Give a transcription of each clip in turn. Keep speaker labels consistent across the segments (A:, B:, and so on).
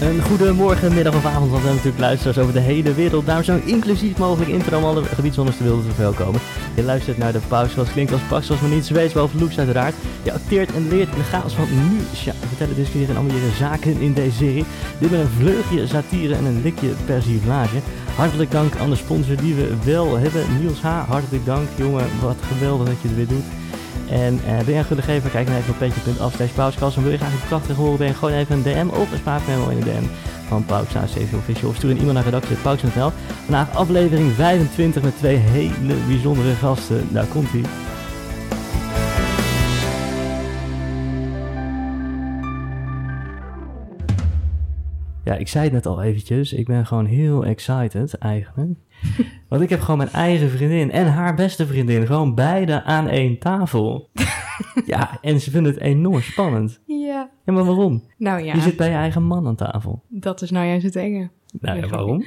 A: Een goedemorgen, middag of avond, want we hebben natuurlijk luisteraars over de hele wereld. Daarom zijn we inclusief mogelijk intro om alle gebiedsonders te wilden verwelkomen. Je luistert naar de pauze, zoals klinkt als pak, zoals maar niets weet, behalve looks uiteraard. Je acteert en leert in de chaos van nu. Tja, we vertellen, discussiëren en ambiëren zaken in deze serie. Dit met een vleugje satire en een likje persiflage. Hartelijk dank aan de sponsor die we wel hebben, Niels H. Hartelijk dank, jongen, wat geweldig dat je het weer doet. En eh ben je een gulle gever, kijk dan even op petje.af slash pauskast. En wil je graag een krachtige horen, ben gewoon even een DM of een spraakmemo in de DM van Pauks naar CV Official. Of stuur een e-mail naar redactie.pauks.nl. Vandaag aflevering 25 met twee hele bijzondere gasten. Daar komt ie. Ja, ik zei het net al eventjes. Ik ben gewoon heel excited eigenlijk. Want ik heb gewoon mijn eigen vriendin en haar beste vriendin gewoon beide aan één tafel. ja, en ze vinden het enorm spannend.
B: Ja.
A: Ja, maar waarom?
B: Nou ja,
A: Je zit bij je eigen man aan tafel.
B: dat is nou juist het enge.
A: Nou ja,
B: Nee,
A: waarom?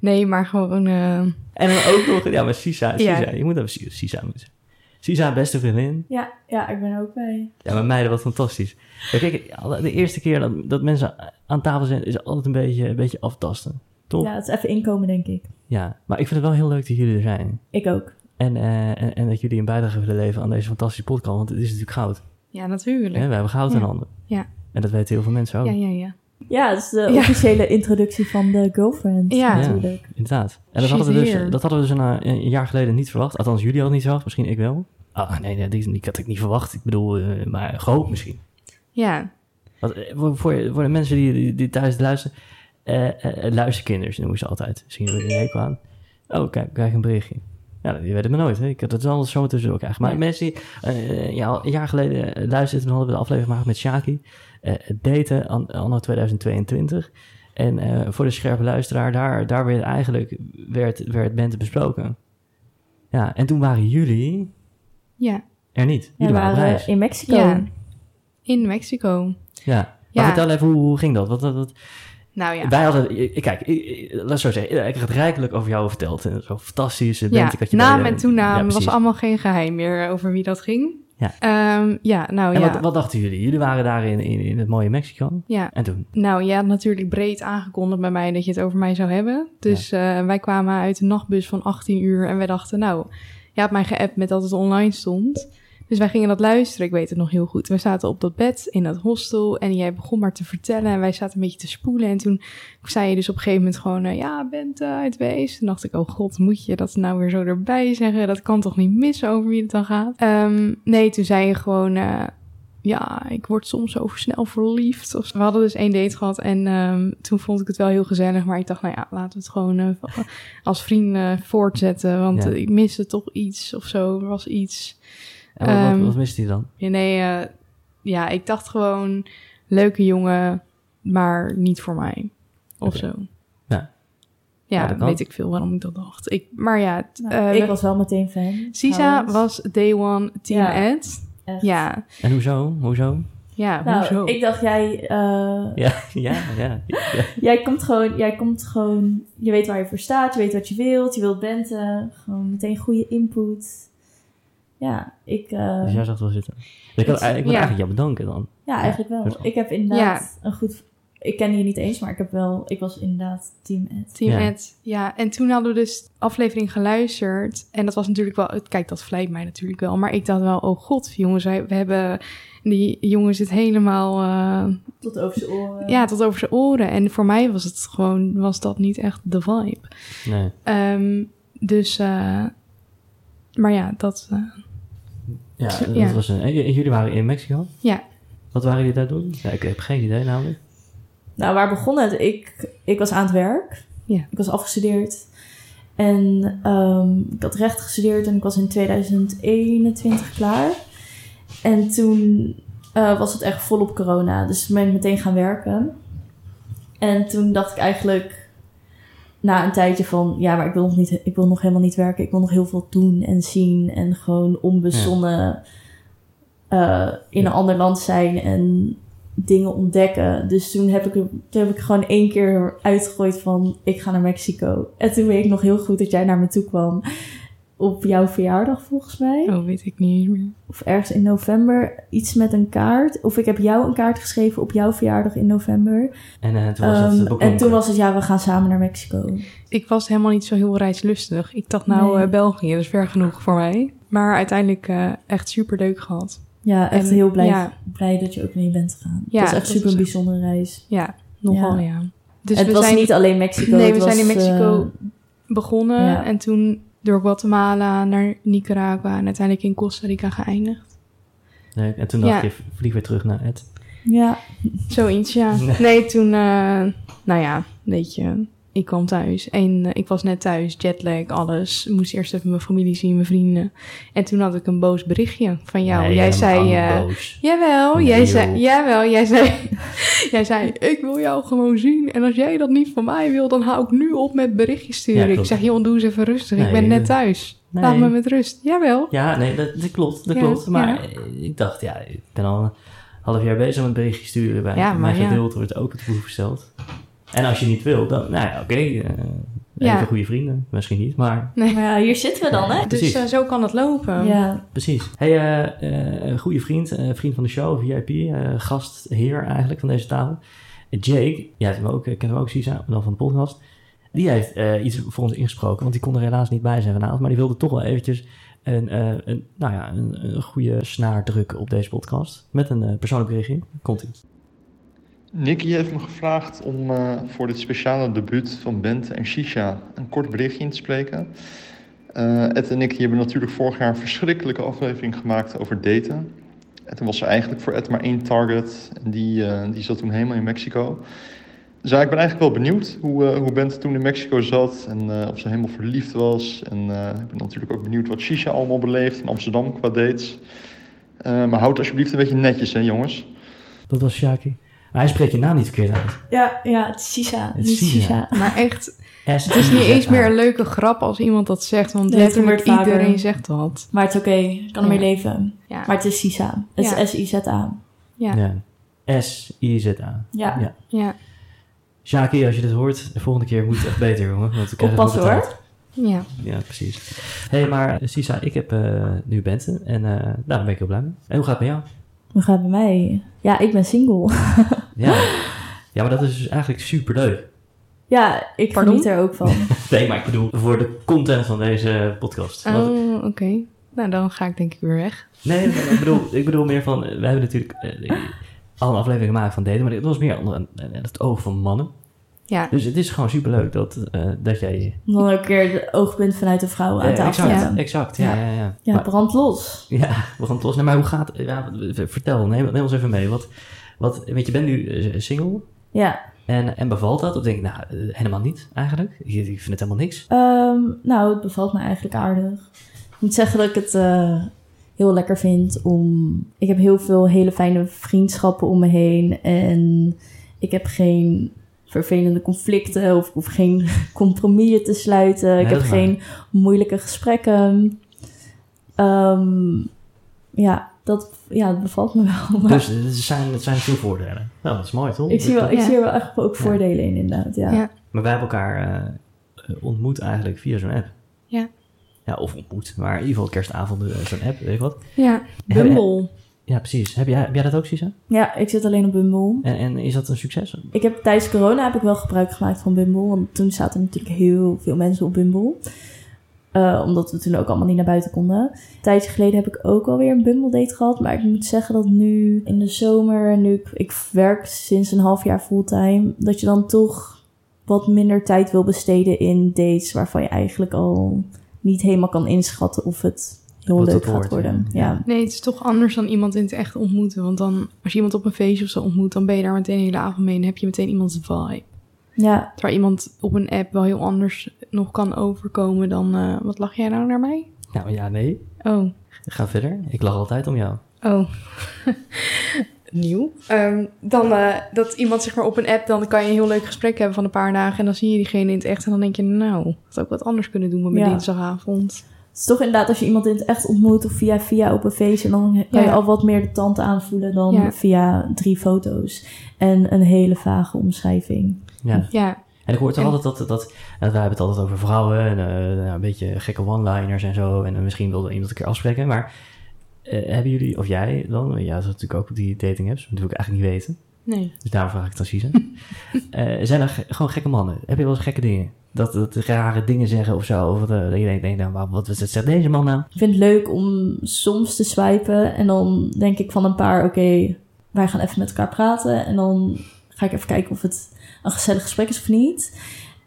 B: Nee, maar gewoon... eh,
A: En dan ook nog, ja, maar Sisa, Sisa,
B: Ja.
A: je moet even Si- Sisa moeten zeggen. Sisa, beste vriendin.
C: Ja, ja, ik ben ook bij.
A: Ja, maar meiden, wat fantastisch. Ja, kijk, alle- de eerste keer dat, dat mensen aan tafel zijn, is altijd een beetje, een beetje aftasten. Toch?
C: Ja, het is even inkomen, denk ik.
A: ja. Maar ik vind het wel heel leuk dat jullie er zijn.
C: Ik ook.
A: En, eh, en, en dat jullie een bijdrage willen leveren aan deze fantastische podcast. Want het is natuurlijk goud.
B: ja, natuurlijk.
A: Hè? We hebben goud in
C: Ja.
A: handen.
B: Ja.
A: En dat weten heel veel mensen ook.
B: Ja, ja, ja.
C: Ja, het is de
B: Ja.
C: officiële introductie van de girlfriend
B: Ja.
C: natuurlijk.
A: Inderdaad. En dat
B: She's
A: hadden, we dus,
B: here.
A: dat hadden we dus een, een jaar geleden niet verwacht. Althans, jullie hadden het niet verwacht. Misschien ik wel. Ah, nee, nee die, die had ik niet verwacht. Ik bedoel, eh, maar gehoopt misschien.
B: Ja,
A: Want, eh, voor, voor, voor de mensen die, die, die thuis luisteren. eh, eh, luisterkinders noemen ze altijd. Zien we er een hekel aan. Oh, kijk, krijg een berichtje. Ja, die weten me nooit. Hè? Ik had het altijd zo tussendoor krijgen. Maar
C: Ja.
A: mensen die eh, ja, al een jaar geleden eh, luisterden, toen hadden we de aflevering gemaakt met Shaki. eh, het daten an, anno 2022. En eh, voor de scherpe luisteraar, daar, daar werd eigenlijk werd, werd Bente besproken. Ja, en toen waren jullie
B: ja.
A: er niet.
C: Ja, we
A: Jullie waren op
C: waren
A: reis.
C: in Mexico.
B: Ja. In Mexico.
A: Ja. Maar
B: Ja.
A: vertel even, hoe, hoe ging dat? Wat, wat, wat-
B: Nou ja.
A: Wij hadden, ik- kijk, ik- ik- laat het zo zeggen, ik had rijkelijk over jou verteld. En Zo fantastisch, eh, Bente,
B: Ja,
A: ik had je
B: naam
A: bij-
B: en toenaam
A: Ja,
B: was
A: precies.
B: allemaal geen geheim meer over wie dat ging.
A: Ja.
B: Ehm, ja, nou
A: En
B: ja.
A: wat, wat dachten jullie? Jullie waren daar in, in, in het mooie Mexico.
B: ja.
A: En toen?
B: Nou, je had natuurlijk breed aangekondigd bij mij dat je het over mij zou hebben. Dus eh, wij kwamen uit de nachtbus van 18 uur en wij dachten, nou, je had mij geappt met dat het online stond. Dus wij gingen dat luisteren, ik weet het nog heel goed. We zaten op dat bed in dat hostel en jij begon maar te vertellen en wij zaten een beetje te spoelen. En toen zei je dus op een gegeven moment gewoon, eh, ja, bent eh, uit Wees. Toen dacht ik, oh god, moet je dat nou weer zo erbij zeggen? Dat kan toch niet missen over wie het dan gaat? Ehm, nee, toen zei je gewoon, eh, ja, ik word soms zo snel verliefd. Of zo. We hadden dus één date gehad en ehm, toen vond ik het wel heel gezellig. Maar ik dacht, nou ja, laten we het gewoon eh, va- als vrienden voortzetten. Want
A: Ja.
B: eh, ik miste toch iets of zo. Er was iets.
A: En wat, wat,
B: Ehm,
A: wat miste hij dan?
B: Ja, nee, eh, ja, ik dacht gewoon, leuke jongen, maar niet voor mij. Of
A: Oké.
B: zo.
A: Ja. Ja,
B: Ja,
A: dat kan.
B: weet ik veel waarom ik dat dacht. Ik, maar ja, t-
C: Nou,
B: eh,
C: ik
B: we-
C: was wel meteen fan.
B: Sisa
C: trouwens.
B: was day one team
C: Ja.
B: ad.
C: Echt.
B: Ja,
A: En hoezo? Hoezo?
B: ja,
C: Nou,
B: hoezo?
C: ik dacht jij, eh,
A: Ja, ja, ja. ja.
C: jij, komt gewoon, jij komt gewoon, je weet waar je voor staat, je weet wat je wilt, je wilt Bente, gewoon meteen goede input. Ja, ik, eh,
A: Dus jij zag het wel zitten. Dus ik, had,
C: Ja.
A: ik moet eigenlijk jou bedanken dan.
C: Ja, eigenlijk
A: dus-
C: wel. Ik heb inderdaad een goed. Ik ken je niet eens, maar ik heb wel. Ik was inderdaad team Ed.
B: Team
A: Ja.
B: Ed, ja. En toen hadden we dus de aflevering geluisterd. En dat was natuurlijk wel... Kijk, dat vlijt mij natuurlijk wel. Maar ik dacht wel, oh god, jongens, wij- we hebben... Die jongen zit helemaal... eh,
C: Tot over zijn oren.
B: ja, tot over zijn oren. En voor mij was het gewoon... Was dat niet echt de vibe.
A: Nee.
B: Ehm, dus... eh, maar ja, dat... eh,
A: Ja, dat
B: Ja.
A: was een... en j- jullie waren in Mexico?
B: Ja.
A: Wat waren jullie daar doen? Ja, ik heb geen idee namelijk.
C: Nou, waar begon het? Ik, ik was aan het werk.
B: Ja.
C: Ik was afgestudeerd. En ehm, ik had recht gestudeerd en ik was in 2021 klaar. En toen eh, was het echt volop corona. Dus toen ben ik meteen gaan werken. En toen dacht ik eigenlijk na een tijdje van... Ja, maar ik wil nog, niet, ik wil nog helemaal niet werken. Ik wil nog heel veel doen en zien. En gewoon onbezonnen eh, in
A: Ja.
C: een ander land zijn. En dingen ontdekken. Dus toen heb ik, toen heb ik gewoon één keer uitgegooid van... ik ga naar Mexico. En toen weet ik nog heel goed dat jij naar me toe kwam. op jouw verjaardag volgens mij.
B: Oh, weet ik niet meer.
C: Of ergens in november iets met een kaart. Of ik heb jou een kaart geschreven op jouw verjaardag in november.
A: En eh, toen was het
C: Ehm,
A: beklonken.
C: en toen was het, ja, we gaan samen naar Mexico.
B: Ik was helemaal niet zo heel reislustig. Ik dacht, nou,
C: Nee.
B: eh, België, dat is ver genoeg voor mij. Maar uiteindelijk eh, echt super leuk gehad.
C: Ja, echt
B: En-
C: heel blij,
B: ja.
C: blij dat je ook mee bent gegaan.
B: Ja,
C: het was echt
B: dat
C: super
B: was-
C: bijzondere reis.
B: Ja, nogal, ja. Dus
C: het
B: we
C: was
B: zijn
C: niet alleen Mexico.
B: Nee,
C: het
B: we
C: was,
B: zijn in Mexico
C: eh,
B: begonnen
C: ja.
B: en toen door Guatemala naar Nicaragua en uiteindelijk in Costa Rica geëindigd.
A: Leuk. En toen dacht
B: Ja.
A: je, vlieg weer terug naar het.
C: eh, ja,
B: Zoiets, ja.
A: Nee.
B: Nee, toen, eh, nou ja, weet je, ik kwam thuis en eh, ik was net thuis, jetlag, alles. Moest eerst even mijn familie zien, mijn vrienden. En toen had ik een boos berichtje van jou.
A: Nee,
B: jij zei,
A: helemaal
B: eh,
A: boos.
B: Jawel,
A: Nee,
B: jij
A: joh.
B: zei, jawel, jij zei, jij zei, ik wil jou gewoon zien. En als jij dat niet van mij wil, dan hou ik nu op met berichtjes
A: Ja,
B: sturen. ik
A: klopt.
B: zeg, joh, doe eens even rustig.
A: Nee,
B: ik ben
A: eh,
B: net thuis.
A: nee.
B: Laat me met rust. Jawel.
A: Ja, nee, dat, dat klopt, dat
B: Ja,
A: klopt. Maar
B: ja.
A: eh, ik dacht, ja, ik ben al een half jaar bezig met berichtjes sturen. Bij,
B: Ja, maar
A: mijn
B: ja.
A: geduld wordt ook het proef gesteld. En als je niet wil, dan, nou ja, oké. eh,
B: Ja.
A: Even goede vrienden, misschien niet, maar
C: maar ja, hier zitten we dan, hè?
B: Dus
A: precies.
B: eh, zo kan het lopen.
C: Ja,
A: precies. Hey, eh, eh, een goede vriend, eh, vriend van de show, VIP, eh, gastheer eigenlijk van deze tafel. Eh, Jake, jij kent hem ook, eh, kent hem ook Sisa, maar dan van de podcast. Die heeft eh, iets voor ons ingesproken, want die kon er helaas niet bij zijn vanavond. Maar die wilde toch wel eventjes een, eh, een, nou ja, een, een goede snaar drukken op deze podcast. Met een eh, persoonlijk berichtje. Komt ie.
D: Nicky heeft me gevraagd om eh, voor dit speciale debuut van Bente en Shisha een kort berichtje in te spreken. Eh, Ed en ik hebben natuurlijk vorig jaar een verschrikkelijke aflevering gemaakt over daten. En toen was er eigenlijk voor Ed maar één target en die, eh, die zat toen helemaal in Mexico. Dus ja, ik ben eigenlijk wel benieuwd hoe, eh, hoe Bente toen in Mexico zat en eh, of ze helemaal verliefd was. En eh, ik ben natuurlijk ook benieuwd wat Shisha allemaal beleeft in Amsterdam qua dates. Eh, maar houd alsjeblieft een beetje netjes hè jongens.
A: Dat was Shaki. Maar hij spreekt je naam niet verkeerd uit.
C: ja, ja het is Sisa.
A: Het is Sisa.
B: Maar echt,
A: S
B: het is niet eens meer een leuke grap als iemand dat zegt. Want
C: Nee, het
B: letterlijk
C: gebeurt vaker.
B: iedereen zegt dat.
C: Maar het is oké, ik kan
B: Ja.
C: ermee leven.
B: Ja.
C: Maar het is Sisa. Het
B: Ja.
C: is S-I-Z-A.
B: ja.
A: Ja. S-I-Z-A.
C: Ja.
A: Ja. Shaki, als je dit hoort, de volgende keer moet het echt beter, jongen. Want we krijgen
C: Oppassen,
A: het altijd
C: hoor.
B: ja.
A: Ja, precies. Hé, hey, maar eh, Sisa, ik heb eh, nu Bente en eh, nou, daar ben ik heel blij mee. En hoe gaat het met jou?
C: We gaan bij mij. Ja, ik ben single.
A: Ja. ja, maar dat is dus eigenlijk superleuk.
C: Ja, ik
B: Pardon?
C: geniet er ook van.
A: Nee, maar ik bedoel, voor de content van deze podcast. Want-
B: Oh, oké. Nou, dan ga ik denk ik weer weg.
A: nee, maar ik bedoel, ik bedoel meer van, eh, we hebben natuurlijk eh, al een aflevering gemaakt van daten, maar dit was meer onder eh, het oog van mannen.
B: Ja.
A: Dus het is gewoon superleuk dat, eh, dat jij...
C: Om Dan ook weer het oogpunt vanuit de vrouw aan
A: Eh,
C: tafel
A: exact,
C: te hebben.
A: exact, ja, ja, ja.
C: Ja,
A: Maar-
C: brand los.
A: Ja, we gaan het los. Nee, maar hoe gaat het? Ja, v- vertel, neem, neem ons even mee. Wat, wat, want je bent nu eh, single
C: Ja.
A: en, en bevalt dat? Of denk ik, nou, eh, helemaal niet eigenlijk. Ik, ik vind het helemaal niks.
C: Ehm, nou, het bevalt me eigenlijk aardig. Ik moet zeggen dat ik het eh, heel lekker vind om... Ik heb heel veel hele fijne vriendschappen om me heen. En ik heb geen vervelende conflicten. Of ik hoef geen compromissen te sluiten. ik
A: dat
C: heb
A: is waar.
C: geen moeilijke gesprekken. Ehm, ja, dat, ja, dat bevalt me wel. Maar
A: Dus het zijn, het zijn veel voordelen. Nou, dat is mooi, toch?
C: ik, zie wel, ik
B: Ja.
C: zie er wel echt ook voordelen in, inderdaad. Ja.
B: Ja.
A: Maar wij hebben elkaar eh, ontmoet eigenlijk via zo'n app.
B: Ja.
A: Ja, of ontmoet, maar in ieder geval kerstavonden eh, zo'n app, weet ik wat.
B: Ja.
A: Hebben-
B: Bumble.
A: Ja, precies. Heb jij, heb jij dat ook, Sisa?
C: ja, ik zit alleen op Bumble.
A: En, en is dat een succes?
C: Ik heb tijdens corona heb ik wel gebruik gemaakt van Bumble. Want toen zaten natuurlijk heel veel mensen op Bumble. Eh, omdat we toen ook allemaal niet naar buiten konden. Een tijdje geleden heb ik ook alweer een Bumble date gehad. Maar ik moet zeggen dat nu in de zomer, en nu ik, ik werk sinds een half jaar fulltime, dat je dan toch wat minder tijd wil besteden in dates waarvan je eigenlijk al niet helemaal kan inschatten of het heel
A: Wat het
C: leuk gaat
A: wordt,
C: worden.
A: ja.
C: Ja.
B: Nee, het is toch anders dan iemand in het echt ontmoeten. Want dan, als je iemand op een feestje of zo ontmoet, dan ben je daar meteen de hele avond mee en heb je meteen iemands vibe.
C: ja,
B: Terwijl iemand op een app wel heel anders nog kan overkomen dan, eh, wat lach jij nou naar mij?
A: Nou ja, nee.
B: Oh,
A: Ga verder. Ik lach altijd om jou.
B: oh. Nieuw. Ehm, dan eh, dat iemand zeg maar op een app, dan kan je een heel leuk gesprek hebben van een paar dagen. En dan zie je diegene in het echt en dan denk je, nou, had ook wat anders kunnen doen met mijn
C: Ja.
B: dinsdagavond.
C: Het is toch inderdaad als je iemand in het echt ontmoet of via via op een feestje, dan kan je
B: Ja.
C: al wat meer de tand aanvoelen dan
B: Ja.
C: via drie foto's en een hele vage omschrijving.
A: Ja.
B: Ja,
A: En ik hoor toch
B: En-
A: altijd dat, dat, dat wij hebben het altijd over vrouwen en eh, nou, een beetje gekke one-liners en zo. En eh, misschien wilde iemand een keer afspreken. Maar eh, hebben jullie, of jij dan, eh, ja, dat is natuurlijk ook op die dating apps, dat wil ik eigenlijk niet weten.
B: Nee.
A: Dus daarom vraag ik het aan Sisa. Eh, zijn er ge- gewoon gekke mannen? Heb je wel eens gekke dingen? Dat, dat rare dingen zeggen of zo? Of dat, eh, dat je denkt, nee, nou, wat, wat, wat zegt deze man nou?
C: Ik vind het leuk om soms te swipen en dan denk ik van een paar, oké, wij gaan even met elkaar praten en dan ga ik even kijken of het een gezellig gesprek is of niet.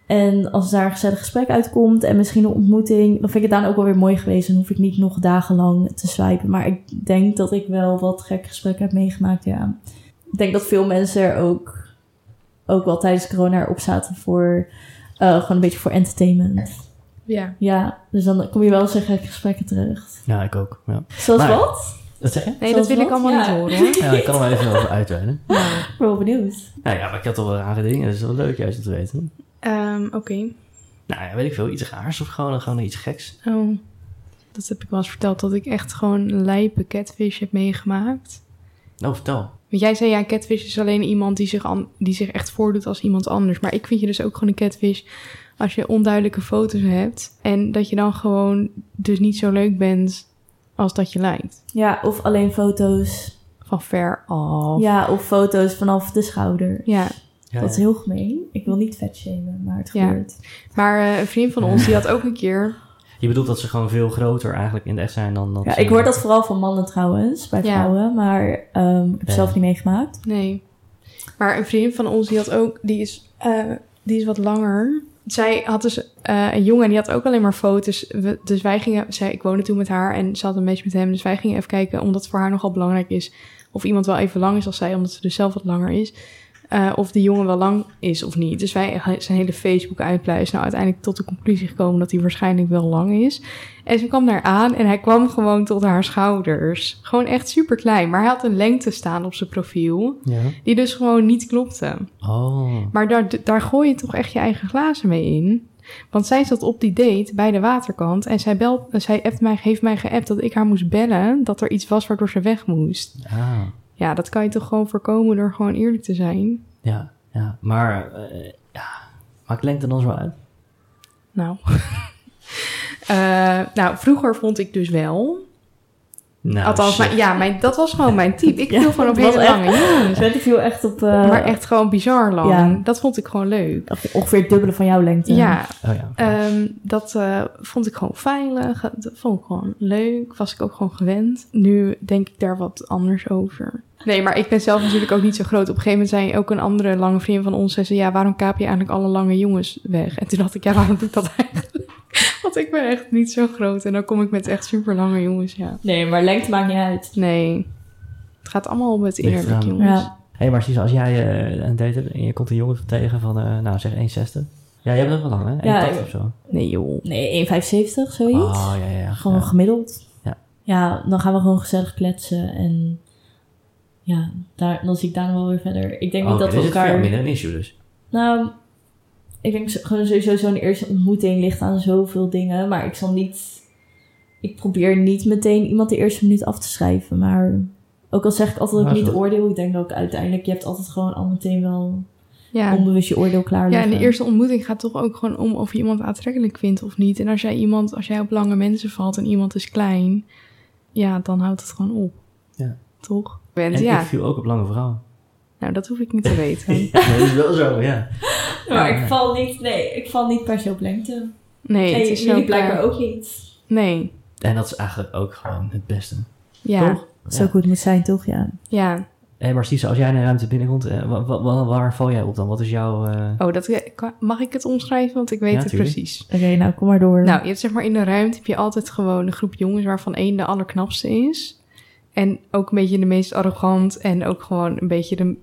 C: En als daar een gezellig gesprek uitkomt en misschien een ontmoeting, dan vind ik het dan ook wel weer mooi geweest en hoef ik niet nog dagenlang te swipen. Maar ik denk dat ik wel wat gekke gesprekken heb meegemaakt, ja. Ik denk dat veel mensen er ook, ook wel tijdens corona op zaten voor, eh, gewoon een beetje voor entertainment.
B: Ja.
C: Ja, dus dan kom je wel eens in gekke gesprekken terecht.
A: Ja, ik ook. Nou Ja.
C: Zoals
A: Maar-
C: wat?
A: Wat zeg je?
B: Nee,
C: Zoals
B: dat wil ik
C: wat?
B: allemaal
C: Ja.
B: niet horen hoor.
A: Ja, ik kan er wel even over uitweiden.
B: Ja.
C: Ik ben wel benieuwd.
A: Nou ja, maar ik had al wel rare dingen. dus Dat is wel leuk juist om te weten.
B: Ehm, Oké.
A: Nou ja, weet ik veel. Iets raars of gewoon, gewoon iets geks.
B: Oh. Dat heb ik wel eens verteld, dat ik echt gewoon een lijpe catfish heb meegemaakt.
A: Nou, vertel.
B: Want jij zei ja, een catfish is alleen iemand die zich, an- die zich echt voordoet als iemand anders. Maar ik vind je dus ook gewoon een catfish als je onduidelijke foto's hebt. En dat je dan gewoon dus niet zo leuk bent als dat je lijkt.
C: Ja, of alleen foto's.
B: Van ver af.
C: Ja, of foto's vanaf de schouder.
B: Ja,
A: Ja,
C: Dat is heel gemeen. Ik wil niet vetshamen, maar het
B: Ja.
C: gebeurt.
B: maar eh, een vriend van ons die had ook een keer.
A: Je bedoelt dat ze gewoon veel groter eigenlijk in de echt zijn dan... dan
C: Ja,
A: ze-
C: ik hoor dat vooral van mannen trouwens, bij
B: Ja.
C: vrouwen. Maar ehm, ik heb
A: Ja.
C: zelf niet meegemaakt.
B: Nee. Maar een vriend van ons die had ook. Die is, eh, die is wat langer. Zij had dus eh, een jongen en die had ook alleen maar foto's. We- dus wij gingen. Zij, ik woonde toen met haar en ze had een match met hem. Dus wij gingen even kijken, omdat het voor haar nogal belangrijk is. Of iemand wel even lang is als zij, omdat ze dus zelf wat langer is. Eh, of die jongen wel lang is of niet. Dus wij he- zijn hele Facebook uitpluizen. Nou, uiteindelijk tot de conclusie gekomen dat hij waarschijnlijk wel lang is. En ze kwam daar aan en hij kwam gewoon tot haar schouders. Gewoon echt super klein. Maar hij had een lengte staan op zijn profiel
A: Ja.
B: die dus gewoon niet klopte.
A: Oh.
B: Maar daar, daar gooi je toch echt je eigen glazen mee in. Want zij zat op die date bij de waterkant en zij, belt, zij appt mij, heeft mij geappt dat ik haar moest bellen dat er iets was waardoor ze weg moest.
A: Ah.
B: Ja, dat kan je toch gewoon voorkomen door gewoon eerlijk te zijn?
A: Ja, ja. Maar, eh, ja. Maakt lengte dan zo uit?
B: Nou. Eh, nou, vroeger vond ik dus wel.
A: Nou,
B: Althans,
A: shit.
B: mijn- ja, mijn, dat was gewoon mijn type. Ik
C: Ja,
B: viel gewoon op
C: dat was
B: hele
C: echt-
B: lange jongens.
C: Zwente viel echt op eh,
B: Maar echt gewoon bizar lang.
C: Ja.
B: Dat vond ik gewoon leuk.
C: ongeveer het dubbele van jouw lengte.
B: Ja,
A: Oh ja.
B: Ehm, dat eh, vond ik gewoon veilig. Dat vond ik gewoon leuk. Was ik ook gewoon gewend. Nu denk ik daar wat anders over. Nee, maar ik ben zelf natuurlijk ook niet zo groot. Op een gegeven moment zei ook een andere lange vriend van ons... Zei ze, ja, waarom kaap je eigenlijk alle lange jongens weg? En toen dacht ik, ja, waarom doe ik dat eigenlijk? Want ik ben echt niet zo groot. En dan kom ik met echt super lange jongens, ja.
C: Nee, maar lengte maakt niet uit.
B: Nee, het gaat allemaal om het
A: Ligt
B: eerlijk,
A: eraan.
B: jongens.
C: Ja.
A: Hé, hey, maar Sisa, als jij eh, een date hebt en je komt een jongen tegen van, eh, nou zeg 1,60. Ja, jij bent ook wel lang, hè? 1,80
C: ik-
A: of zo.
B: Nee, joh.
C: Nee, 1,75 zoiets.
A: Oh, ja, ja, ja.
C: Gewoon
A: Ja.
C: gemiddeld.
A: Ja.
C: Ja, dan gaan we gewoon gezellig kletsen. En ja, daar, dan zie ik daar nog wel weer verder. Ik denk
A: Oké,
C: niet dat we
A: dus het is
C: elkaar...
A: veel minder een issue dus.
C: Nou, ik denk zo- gewoon sowieso zo'n eerste ontmoeting ligt aan zoveel dingen. Maar ik zal niet... Ik probeer niet meteen iemand de eerste minuut af te schrijven. Maar ook al zeg ik altijd dat
A: Ja,
C: ik niet
A: zo.
C: oordeel. Ik denk dat ik uiteindelijk... Je hebt altijd gewoon al meteen wel
B: Ja.
C: onbewust je oordeel klaar
B: Ja, en de
C: liggen.
B: eerste ontmoeting gaat toch ook gewoon om of je iemand aantrekkelijk vindt of niet. En als jij iemand, als jij op lange mensen valt en iemand is klein, ja, dan houdt het gewoon op.
A: Ja.
B: Toch? Bent,
A: En
B: ja.
A: ik viel ook op lange vrouwen.
B: Nou, dat hoef ik niet te weten.
A: Nee, dat is wel zo, ja.
C: Maar
A: Ja.
C: ik val niet... Nee, ik val niet per se op lengte.
B: Nee,
C: En
B: het is zo
C: jullie blijkbaar
B: klaar.
C: ook eh, niet.
B: Nee.
A: En dat is eigenlijk ook gewoon het beste.
B: Ja.
A: Toch?
C: Zo goed moet zijn, toch? Ja.
B: Ja.
A: Hé, maar Sisa, als jij in een ruimte binnenkomt, eh, wa- wa- wa- waar val jij op dan? Wat is jouw... eh,
B: Oh, dat, mag ik het omschrijven? Want ik weet
A: Ja,
B: het
A: tuurlijk.
B: precies.
C: Oké, nou, kom maar door.
B: Nou, je hebt zeg maar in de ruimte heb je altijd gewoon een groep jongens waarvan één de allerknapste is. En ook een beetje de meest arrogant en ook gewoon een beetje de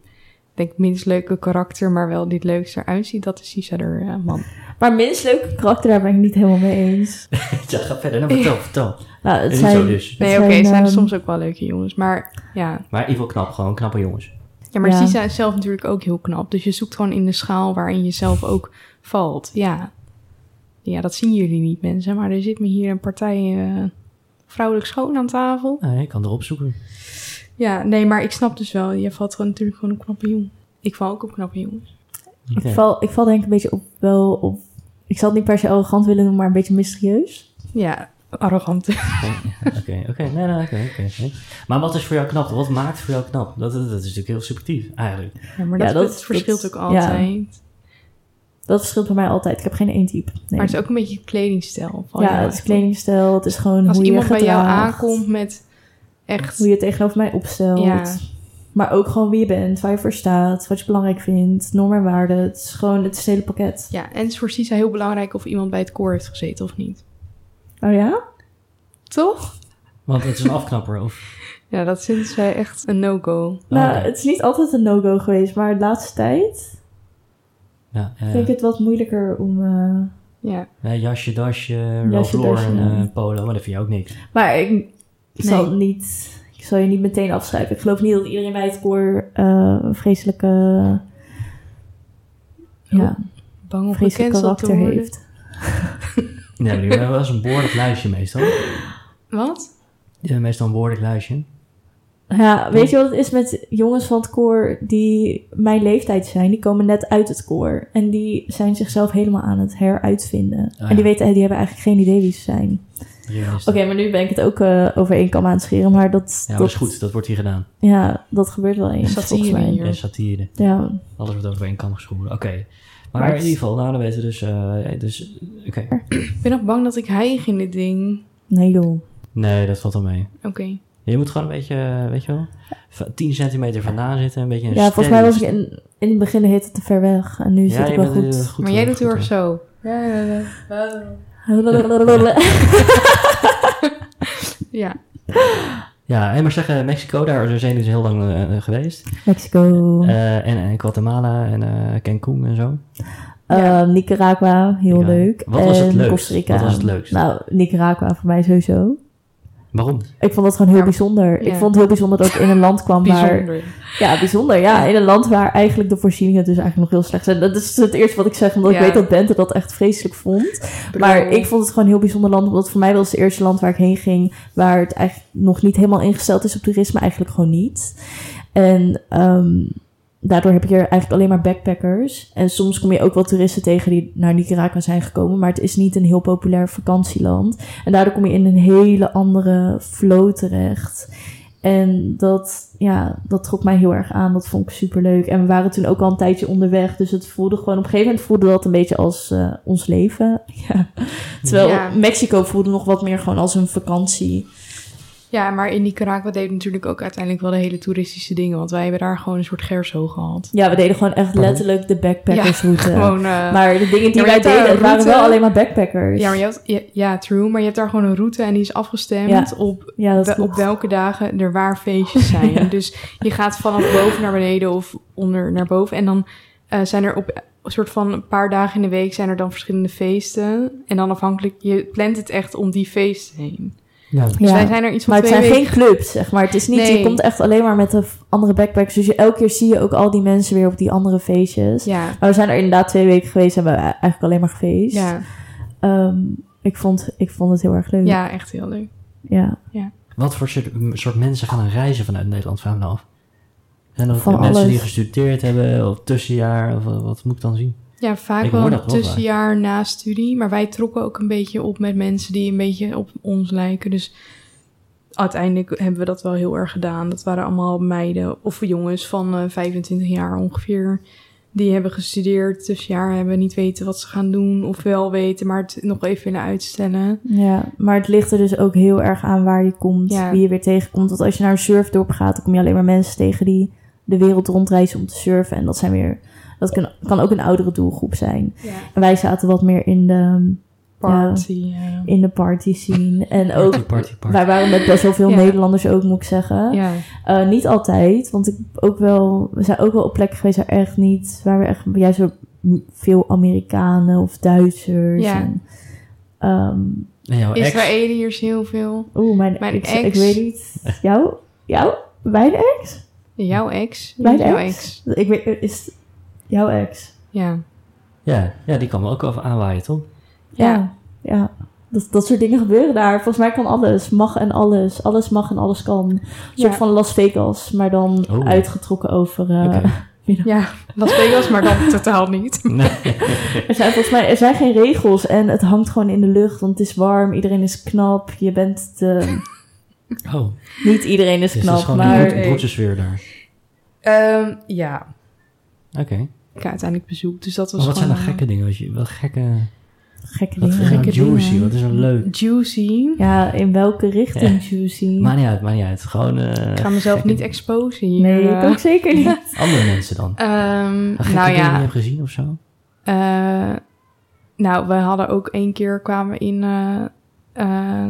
B: denk ik, minst leuke karakter, maar wel die het leukste eruit ziet. Dat is Sisa er eh, man.
C: Maar minst leuke karakter, daar ben ik niet helemaal mee eens.
A: ja, ga verder. Nou, vertel, vertel.
C: Nou, het
A: Niet
C: zijn...
A: zo dus.
B: Nee,
C: Het
B: oké,
C: zijn,
B: zijn er
C: ehm,
B: soms ook wel leuke jongens. Maar ja,
A: Maar in ieder geval knap, gewoon knappe jongens.
B: ja maar
C: Ja.
B: Sisa is zelf natuurlijk ook heel knap. Dus je zoekt gewoon in de schaal waarin je zelf ook valt. Ja, ja dat zien jullie niet mensen. Maar er zit me hier een partij eh, vrouwelijk schoon aan tafel.
A: Nee, Ah, ik kan erop zoeken.
B: Ja, nee, maar ik snap dus wel. Je valt gewoon natuurlijk gewoon op knappe jongen. Ik val ook op knappe jongens.
C: Ik, val, ik val denk ik een beetje op, wel op... Ik zal het niet per se arrogant willen noemen, maar een beetje mysterieus.
B: Ja, arrogant.
A: Oké, oké, oké, nee, nee, oké, oké, oké. Maar wat is voor jou knap? Wat maakt voor jou knap? Dat, dat is natuurlijk heel subjectief, eigenlijk.
B: Ja, maar
C: Ja,
B: dat,
C: dat-
B: dat verschilt
C: dat-
B: ook
C: ja.
B: altijd.
C: Dat verschilt bij mij altijd. Ik heb geen één type. Nee.
B: Maar het is ook een beetje kledingstijl. van
C: ja,
B: jou.
C: het is kledingstijl, het is gewoon
B: Als
C: hoe je
B: iemand bij jou
C: gedraagt,
B: aankomt met echt...
C: Hoe je het tegenover mij opstelt.
B: Ja.
C: Maar ook gewoon wie je bent, waar je voor staat, wat je belangrijk vindt, normen en waarden. Het is gewoon het, is het hele pakket.
B: Ja, en het is voor Sisa heel belangrijk of iemand bij het koor heeft gezeten of niet.
C: Oh ja?
B: Toch?
A: Want het is een afknapper, of...
B: Ja, dat vindt zij echt een no-go.
C: Nou,
A: Oké.
C: het is niet altijd een no-go geweest, maar de laatste tijd
A: Ja, eh,
C: vind ik het wat moeilijker om... eh,
B: Ja.
A: eh, jasje, dasje, Ralph
C: Jasje, dasje,
A: Lauren,
C: ja.
A: eh, polo, maar dat vind je ook niks.
C: Maar ik, ik
B: Nee.
C: zal niet, ik zal je niet meteen afschrijven. Ik geloof niet dat iedereen bij het koor eh, een vreselijke, ja,
B: Bang om
C: vreselijk
B: gecanceld te
C: karakter
B: worden.
C: heeft.
A: Ja, jullie hebben wel eens een behoorlijk lijstje meestal.
B: Wat?
A: Ja, meestal een behoorlijk lijstje.
C: Ja, weet je wat het is met jongens van het koor die mijn leeftijd zijn? Die komen net uit het koor en die zijn zichzelf helemaal aan het heruitvinden.
A: ja.
C: En die, weten, die hebben eigenlijk geen idee wie ze zijn.
A: Drie meestal.
C: Oké, maar nu ben ik het ook eh, over één kam aan het scheren, maar dat,
A: Ja, maar
C: dat
A: dat is goed, dat wordt hier gedaan.
C: Ja, dat gebeurt wel eens volgens
B: Satire
C: mij.
B: hier.
A: Ja, satire.
C: Ja,
A: Alles wordt over één kam geschoren. Oké. Maar,
C: Maar
A: in
C: het-
A: ieder geval, nou, dan weten we dus... eh, ja, dus Oké.
B: Ik ben nog bang dat ik hijg in dit ding.
C: nee joh.
A: Nee, dat valt wel mee.
B: Oké.
A: Je moet gewoon een beetje, eh, weet je wel, va- 10 centimeter vandaan zitten. Een beetje een
C: Ja, volgens mij
A: steady-
C: was ik in, in het begin heet het te ver weg. En nu
A: Ja,
C: zit ik
A: je
C: wel
A: bent, eh,
C: goed.
B: Maar jij
A: eh,
B: doet heel
A: goed,
B: erg
A: eh.
B: zo. Ja.
A: Ja, en maar zeggen, Mexico, daar zijn dus heel lang eh, eh, geweest.
C: Mexico,
A: Eh, en, en Guatemala en eh, Cancun en zo.
B: ja.
C: eh, Nicaragua, heel
A: Nicaragua.
C: leuk.
A: Wat was het
C: en
A: leukst?
C: Costa Rica.
A: Wat was het leukst?
C: Nou, Nicaragua voor mij sowieso.
A: Waarom?
C: Ik vond dat gewoon heel
B: Ja.
C: bijzonder.
B: Ja.
C: Ik vond het heel bijzonder dat ik in een land kwam waar...
B: Bijzonder.
C: Ja, bijzonder. Ja, in een land waar eigenlijk de voorzieningen dus eigenlijk nog heel slecht zijn. Dat is het eerste wat ik zeg, omdat
B: Ja.
C: ik weet dat Bente dat echt vreselijk vond. Maar ik vond het gewoon een heel bijzonder land. Omdat voor mij was het eerste land waar ik heen ging. Waar het eigenlijk nog niet helemaal ingesteld is op toerisme. Eigenlijk gewoon niet. En ehm, daardoor heb ik hier eigenlijk alleen maar backpackers. En soms kom je ook wel toeristen tegen die naar Nicaragua zijn gekomen. Maar het is niet een heel populair vakantieland. En daardoor kom je in een hele andere flow terecht. En dat, ja, dat trok mij heel erg aan. Dat vond ik super leuk. En we waren toen ook al een tijdje onderweg. Dus het voelde gewoon, op een gegeven moment voelde dat een beetje als eh, ons leven. Ja. Terwijl
B: Ja.
C: Mexico voelde nog wat meer gewoon als een vakantie.
B: Ja, maar in Nicaragua deed natuurlijk ook uiteindelijk wel de hele toeristische dingen. Want wij hebben daar gewoon een soort gerso gehad.
C: Ja, we deden gewoon echt letterlijk de backpackersroute.
B: Gewoon, eh,
C: Maar de dingen die
B: Ja, maar je
C: wij
B: hebt daar
C: deden,
B: een
C: het waren
B: route.
C: wel alleen maar backpackers.
B: ja, maar je had, ja, ja, true. Maar je hebt daar gewoon een route en die is afgestemd
C: Ja.
B: op,
C: Ja, dat
B: we- op
C: klopt.
B: welke dagen er waar feestjes zijn. Dus je gaat vanaf boven naar beneden of onder naar boven. En dan eh, zijn er op een soort van een paar dagen in de week zijn er dan verschillende feesten. En dan afhankelijk, je plant het echt om die feesten heen.
A: Ja,
B: Dus
C: Ja.
B: wij zijn er iets van
C: Maar het
B: twee
C: zijn
B: weken
C: geen clubs, zeg maar. Het is niet,
B: Nee.
C: je komt echt alleen maar met de v- andere backpackers. Dus je, elke keer zie je ook al die mensen weer op die andere feestjes.
B: Ja,
C: Maar we zijn er inderdaad twee weken geweest en we hebben eigenlijk alleen maar gefeest.
B: ja,
C: Ehm, ik, vond, ik vond het heel erg leuk.
B: ja, echt heel leuk.
C: Ja.
A: Wat voor soort, m- soort mensen gaan er reizen vanuit Nederland? Vraag me nou af. Zijn dat
C: Van
A: mensen
C: alles.
A: die gestudeerd hebben of tussenjaar? Of eh, wat moet ik dan zien?
B: Ja, vaak
A: Ik
B: wel
A: hoor
B: een
A: dat wel vaak.
B: tussenjaar na studie. Maar wij trokken ook een beetje op met mensen die een beetje op ons lijken. Dus uiteindelijk hebben we dat wel heel erg gedaan. Dat waren allemaal meiden of jongens van eh, 25 jaar ongeveer. Die hebben gestudeerd, tussenjaar hebben niet weten wat ze gaan doen. Of wel weten, maar het nog even willen uitstellen.
C: ja, maar het ligt er dus ook heel erg aan waar je komt,
B: Ja.
C: wie je weer tegenkomt. Want als je naar een surfdorp gaat, dan kom je alleen maar mensen tegen die de wereld rondreizen om te surfen. En dat zijn weer, dat kan, kan ook een oudere doelgroep zijn.
B: Ja.
C: En wij zaten wat meer in de,
B: Party. eh, Ja.
C: in de party scene. En
A: Party,
C: ook,
A: party, party.
C: wij waren met best wel veel
B: Ja.
C: Nederlanders ook, moet ik zeggen.
B: Ja.
C: Eh, niet altijd, want ik heb ook wel, we zijn ook wel op plekken geweest waar echt niet, waar we echt juist wel m- veel Amerikanen of Duitsers.
B: Ja.
C: En, ehm,
A: En jouw ex?
B: Israëliërs heel veel.
C: Oeh, mijn,
B: Mijn
C: ex,
B: ex.
C: Ik weet niet. Jou? Jou? Mijn ex?
B: Jouw ex.
C: Mijn
B: jouw
C: ex? Ik weet, is het jouw ex?
B: Ja.
A: Ja, ja, die kwam ook over aanwaaien, toch?
B: Ja.
C: Ja. ja. Dat, dat soort dingen gebeuren daar. Volgens mij kan alles. Mag en alles. Alles mag en alles kan. Een soort
B: Ja.
C: van Las Vegas, maar dan
A: Oh.
C: uitgetrokken over... eh,
A: Oké.
C: Middag.
B: Ja, Las Vegas, maar dan totaal niet.
C: Er zijn volgens mij er zijn geen regels en het hangt gewoon in de lucht, want het is warm, iedereen is knap. Je bent de...
A: Oh,
C: Niet iedereen
A: dus
C: is
A: het is
C: knap,
A: gewoon
C: Nou, maar...
A: een broed- broedersfeer daar.
B: Ehm, ja,
A: Oké.
B: ik uiteindelijk bezoek. Dus dat was
A: Maar wat zijn
B: gewoon
A: dan gekke dingen? Wat, je, wat gekke...
C: Gekke
A: Wat
C: dingen.
A: is nou
B: Gekke dingen.
A: juicy? Wat is er leuk?
B: eh, juicy.
C: Ja, in welke richting, Juicy?
A: Maakt niet uit, maakt niet uit. Gewoon eh,
B: Ik ga mezelf
A: gekke-
B: niet exposen hier.
C: Nee, ik
B: Eh,
C: ook zeker niet.
A: Andere mensen dan?
B: ehm,
A: Gekke dingen
B: nou
A: die je
B: ja,
A: hebt gezien of zo?
B: eh, nou, we hadden ook één keer kwamen we in eh, eh,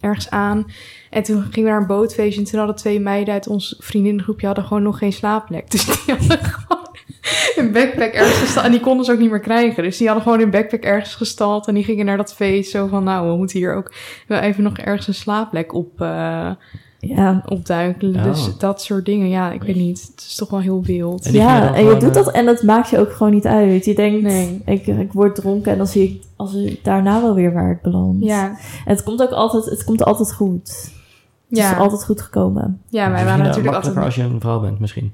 B: ergens aan. En toen gingen we naar een bootfeestje. En toen hadden twee meiden uit ons vriendinnengroepje hadden gewoon nog geen slaapplek. Dus die hadden gewoon een backpack ergens gestald. En die konden ze ook niet meer krijgen. Dus die hadden gewoon een backpack ergens gestald. En die gingen naar dat feest. Zo van, nou, we moeten hier ook wel even nog ergens een slaapplek op... eh,
C: Ja,
B: opduiken.
A: Oh.
B: Dus dat soort dingen. Ja, ik weet niet. Het is toch wel heel wild.
A: En die gingen
C: ja
A: dan
C: en je
A: gewoon,
C: doet
A: eh,
C: dat en dat maakt je ook gewoon niet uit. Je denkt,
B: Nee.
C: ik, ik word dronken en dan zie ik als ik daarna wel weer waar ik beland.
B: Ja,
C: En het komt ook altijd, het komt altijd goed. Het is
B: ja.
C: altijd goed gekomen.
B: ja wij
A: Misschien dan
B: waren natuurlijk
A: makkelijker
B: altijd...
A: als je een vrouw bent, misschien.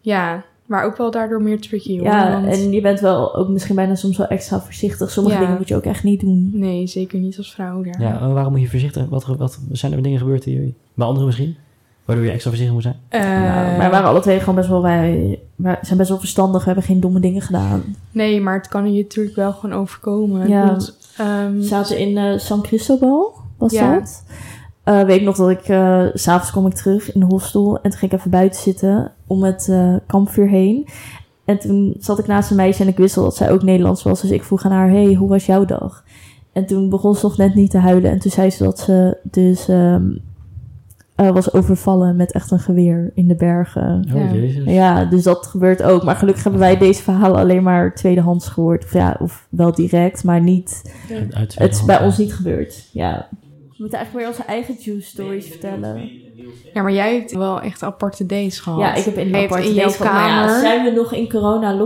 B: Ja, maar ook wel daardoor meer tricky. Hoor,
C: Ja,
B: want-
C: en je bent wel ook misschien bijna soms wel extra voorzichtig. Sommige
B: Ja.
C: dingen moet je ook echt niet doen.
B: Nee, zeker niet als vrouw daar.
A: Ja, eh, waarom moet je voorzichtig... Wat, wat zijn er dingen gebeurd hier? Bij anderen misschien? Waardoor je extra voorzichtig moet zijn?
B: Eh,
C: Nou, maar we waren alle twee gewoon best wel, wij, wij zijn best wel verstandig. We hebben geen domme dingen gedaan.
B: Nee, maar het kan je natuurlijk wel gewoon overkomen.
C: Ja.
B: Ja. ehm
C: We zaten in eh, San Cristobal, was
B: Ja.
C: dat? Eh, weet ik nog dat ik, eh, s s'avonds kom ik terug in de hostel. En toen ging ik even buiten zitten om het eh, kampvuur heen. En toen zat ik naast een meisje en ik wist al dat zij ook Nederlands was. Dus ik vroeg aan haar, hey, hoe was jouw dag? En toen begon ze nog net niet te huilen. En toen zei ze dat ze dus ehm, eh, was overvallen met echt een geweer in de bergen.
A: Oh,
B: Ja.
A: jezus.
C: Ja, dus dat gebeurt ook. Maar gelukkig hebben wij deze verhalen alleen maar tweedehands gehoord. Of ja, of wel direct, maar niet.
A: Uit- uit
C: Het is bij
A: tweede hand,
C: ons niet gebeurd. Ja. We moeten eigenlijk weer onze eigen juice stories vertellen.
B: ja, maar jij hebt wel echt aparte dates gehad.
C: Ja, ik heb in
B: Jij
C: de
B: hebt
C: aparte
B: in jouw
C: dates gehad, maar
B: kamer.
C: Ja, zijn we nog in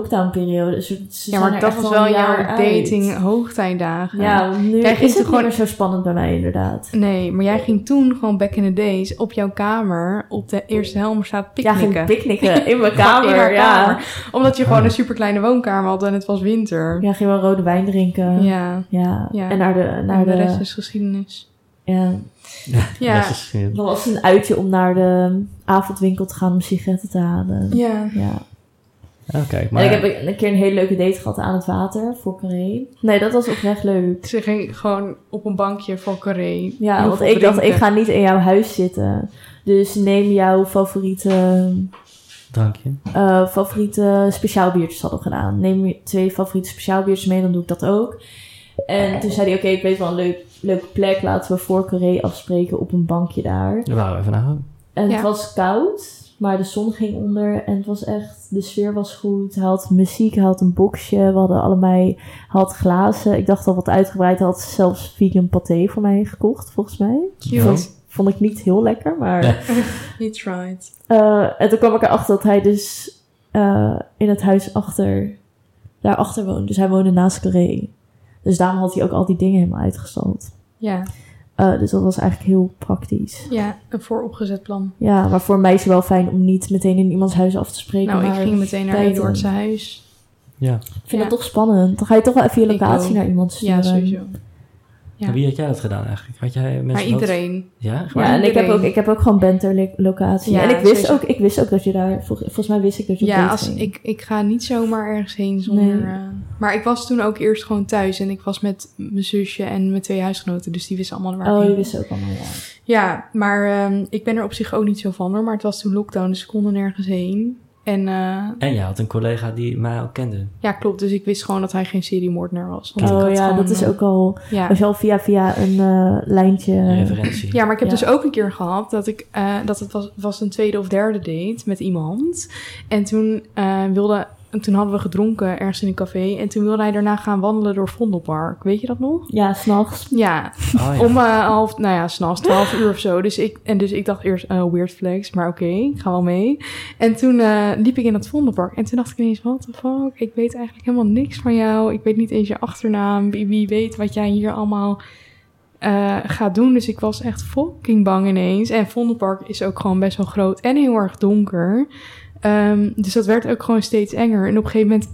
C: corona-lockdown-periode? Dus we- ze
B: Ja,
C: zijn
B: maar
C: er
B: dat
C: echt
B: was
C: al
B: wel
C: een jaar
B: jouw
C: uit.
B: dating hoogtijdagen.
C: Ja, nu
B: Jij ging
C: is
B: toen
C: het
B: gewoon-
C: gewoon zo spannend bij mij inderdaad.
B: Nee, maar jij ging toen gewoon back in the days op jouw kamer op de Eerste Helmerstraat
C: Ja,
B: picknicken.
C: ging picknicken in
B: Gewoon
C: mijn
B: in
C: kamer.
B: haar
C: ja.
B: kamer. Omdat je gewoon
A: Oh.
B: een superkleine woonkamer had en het was winter.
C: ja, ging wel rode wijn drinken. Ja.
B: Ja. Ja.
C: En naar de... Naar
B: en de,
C: de,
B: rest is geschiedenis.
C: ja.
A: Ja.
B: Ja.
A: is- ja.
C: Dan was het een uitje om naar de avondwinkel te gaan om sigaretten te halen.
B: Ja.
C: Ja.
A: Oké, maar...
C: En ik heb een keer een hele leuke date gehad aan het water voor Carré. Nee, dat was oprecht leuk.
B: Ze ging gewoon op een bankje voor Carré.
C: Ja,
B: heel
C: want
B: veel
C: ik dacht, ik
B: drinken.
C: ga niet in jouw huis zitten. Dus neem jouw favoriete,
A: Drankje.
C: eh favoriete speciaalbiertjes hadden we gedaan. Neem je twee favoriete speciaalbiertjes mee, dan doe ik dat ook. En toen zei hij, oké, ik weet wel een leuk, leuke plek. Laten we voor Carré afspreken op een bankje daar.
A: Daar waren we even naar.
C: En
B: Ja.
C: het was koud, maar de zon ging onder en het was echt, de sfeer was goed. Hij had muziek, hij had een boxje, we hadden allebei, hij had glazen. Ik dacht al wat uitgebreid, hij had zelfs vegan paté voor mij gekocht, volgens mij.
B: Cute.
A: Oh.
C: Vond ik niet heel lekker, maar...
A: Nee.
B: You tried.
C: Eh, en toen kwam ik erachter dat hij dus eh, in het huis achter, daarachter woonde. Dus hij woonde naast Carré. Dus daarom had hij ook al die dingen helemaal uitgestald.
B: Ja.
C: Eh, dus dat was eigenlijk heel praktisch.
B: ja, een vooropgezet plan.
C: Ja, maar voor een meisje wel fijn om niet meteen in iemands huis af te spreken.
B: nou, ik
C: maar
B: ging meteen naar
C: buiten.
B: Eduard zijn huis.
A: Ja.
C: Ik vind
B: Ja.
C: dat toch spannend. Dan ga je toch wel even je
B: Ik ook.
C: locatie naar iemand sturen.
B: Ja, sowieso. Ja.
A: En Wie had jij dat gedaan eigenlijk? Had jij mensen
B: Maar
A: dat-
B: iedereen.
A: Ja?
C: Ja,
A: Gewoon-
B: Maar
C: en ik heb,
B: iedereen-
C: ook, ik heb ook gewoon banter lo- locatie.
B: Ja,
C: en ik wist,
B: sowieso.
C: ook, ik wist ook dat je daar... vol- volgens mij wist ik dat je op
B: Ja,
C: date
B: als,
C: ging.
B: ik, ik ga niet zomaar ergens heen zonder...
C: Nee.
B: eh, maar ik was toen ook eerst gewoon thuis. En ik was met mijn zusje en mijn twee huisgenoten. Dus die wisten allemaal waar ik
C: Oh, je
B: heen
C: wist ook allemaal, ja.
B: Ja, maar ehm, ik ben er op zich ook niet zo van hoor. Maar het was toen lockdown, dus ik kon er nergens heen. En eh,
A: En jij had een collega die mij al kende.
B: ja, klopt. Dus ik wist gewoon dat hij geen seriemoordenaar was. Want ik
C: Oh
B: had
C: ja,
B: gewoon,
C: dat is
B: eh,
C: ook al...
B: Ja.
C: Als je al via via een eh, lijntje...
A: Een referentie.
B: ja, maar ik heb
C: Ja.
B: dus ook een keer gehad dat ik... eh, dat het was, was een tweede of derde date met iemand. En toen eh, wilde... en Toen hadden we gedronken ergens in een café. En toen wilde hij daarna gaan wandelen door Vondelpark. Weet je dat nog?
C: Ja, s'nachts.
B: Ja,
A: Oh, ja.
B: Om eh, half, nou ja, s'nachts, twaalf uur of zo. Dus ik, en dus ik dacht eerst, eh, weird flex, maar oké, ik ga wel mee. En toen eh, liep ik in dat Vondelpark en toen dacht ik ineens, what the fuck, ik weet eigenlijk helemaal niks van jou. Ik weet niet eens je achternaam, wie, wie weet wat jij hier allemaal eh, gaat doen. Dus ik was echt fucking bang ineens. En Vondelpark is ook gewoon best wel groot en heel erg donker. Eh, Ehm, dus dat werd ook gewoon steeds enger. En op een gegeven moment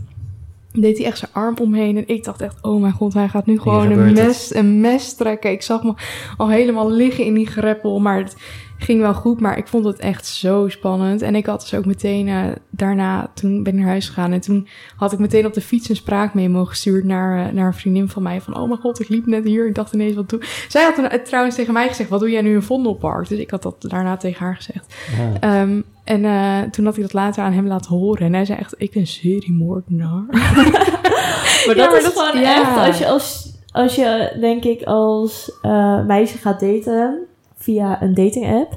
B: deed hij echt zijn arm omheen. En ik dacht echt, oh mijn god, hij gaat nu gewoon een
A: gebeurt het.
B: mes, een mes trekken. Ik zag me al helemaal liggen in die greppel. Maar het ging wel goed. Maar ik vond het echt zo spannend. En ik had dus ook meteen eh, daarna, toen ben ik naar huis gegaan. En toen had ik meteen op de fiets een spraakmemo gestuurd naar, eh, naar een vriendin van mij. Van, oh mijn god, ik liep net hier. Ik dacht ineens, wat doe... Zij had toen, eh, trouwens tegen mij gezegd, wat doe jij nu in Vondelpark? Dus ik had dat daarna tegen haar gezegd.
A: Ja.
B: Ehm, en eh, toen had ik dat later aan hem laten horen. En hij zei echt, ik ben seriemoordenaar.
C: Maar dat
B: Ja, maar
C: is
B: dat-
C: gewoon
B: ja.
C: echt, als je, als, als je denk ik als eh, meisje gaat daten via een dating app,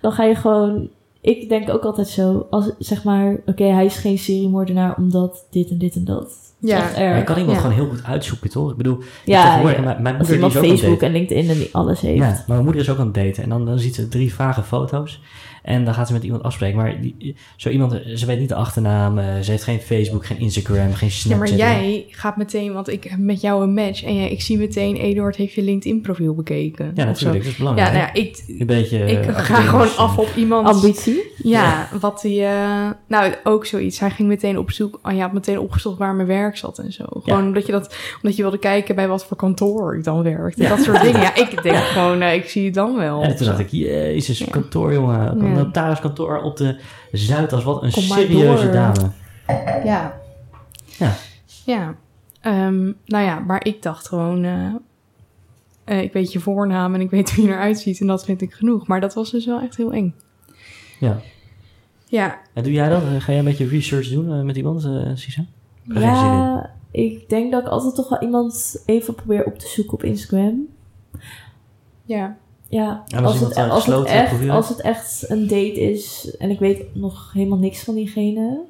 C: dan ga je gewoon, ik denk ook altijd zo, als zeg maar, oké, hij is geen seriemoordenaar omdat dit en dit en dat. Dat is
B: Ja.
C: echt
A: Maar
C: erg.
A: je kan iemand
B: Ja.
A: gewoon heel goed uitzoeken, toch? Ik bedoel,
C: Ja,
A: ja, tegenwoordig,
C: ja.
A: Mijn, mijn
C: Als
A: moeder die
C: iemand
A: is ook aan het
C: Facebook
A: daten.
C: en LinkedIn en die alles heeft.
A: Ja, maar mijn moeder is ook aan het daten. En dan, dan ziet ze drie vage foto's. En dan gaat ze met iemand afspreken. Maar die, zo iemand, ze weet niet de achternaam. eh, Ze heeft geen Facebook, geen Instagram, geen
B: Ja, maar
A: Snapchat.
B: jij gaat meteen, want ik heb met jou een match. En jij, ik zie meteen, Eduard heeft je LinkedIn profiel bekeken.
A: Ja,
B: of zo.
A: natuurlijk. Dat is
B: Ja,
A: belangrijk.
B: nou ja, ik,
A: Een beetje...
B: ik
A: eh,
B: ga gewoon
A: academisch.
B: af op iemand.
C: Ambitie.
B: Ja, wat hij... eh, nou, ook zoiets. Hij ging meteen op zoek. Hij had meteen opgezocht waar mijn werk zat en zo. Gewoon omdat, je dat, omdat je wilde kijken bij wat voor kantoor ik dan werkte. Dat soort dingen. Ja, ik denk gewoon, eh, ik zie het dan wel.
A: En toen dacht ik, jezus,
B: Ja.
A: kantoor, jongen.
B: Ja.
A: Een notariskantoor op de Zuidas. Wat een
C: Kom maar
A: serieuze
C: door.
A: dame.
B: Ja.
A: Ja.
B: Ja. Ehm, nou ja, maar ik dacht gewoon... eh, eh, ik weet je voornaam en ik weet hoe je eruit ziet en dat vind ik genoeg. Maar dat was dus wel echt heel eng.
A: Ja.
B: Ja,
A: En doe jij dat? Eh, Ga jij een beetje research doen eh, met iemand, eh Sisa? Geen zin
C: Ja, ik denk dat ik altijd toch wel iemand even probeer op te zoeken op Instagram.
B: ja.
C: Ja,
A: En als
C: als,
A: iemand
C: het, e-,
A: daar
C: als, het
A: gesloten
C: echt,
A: profiel
C: als het echt een date is en ik weet nog helemaal niks van diegene,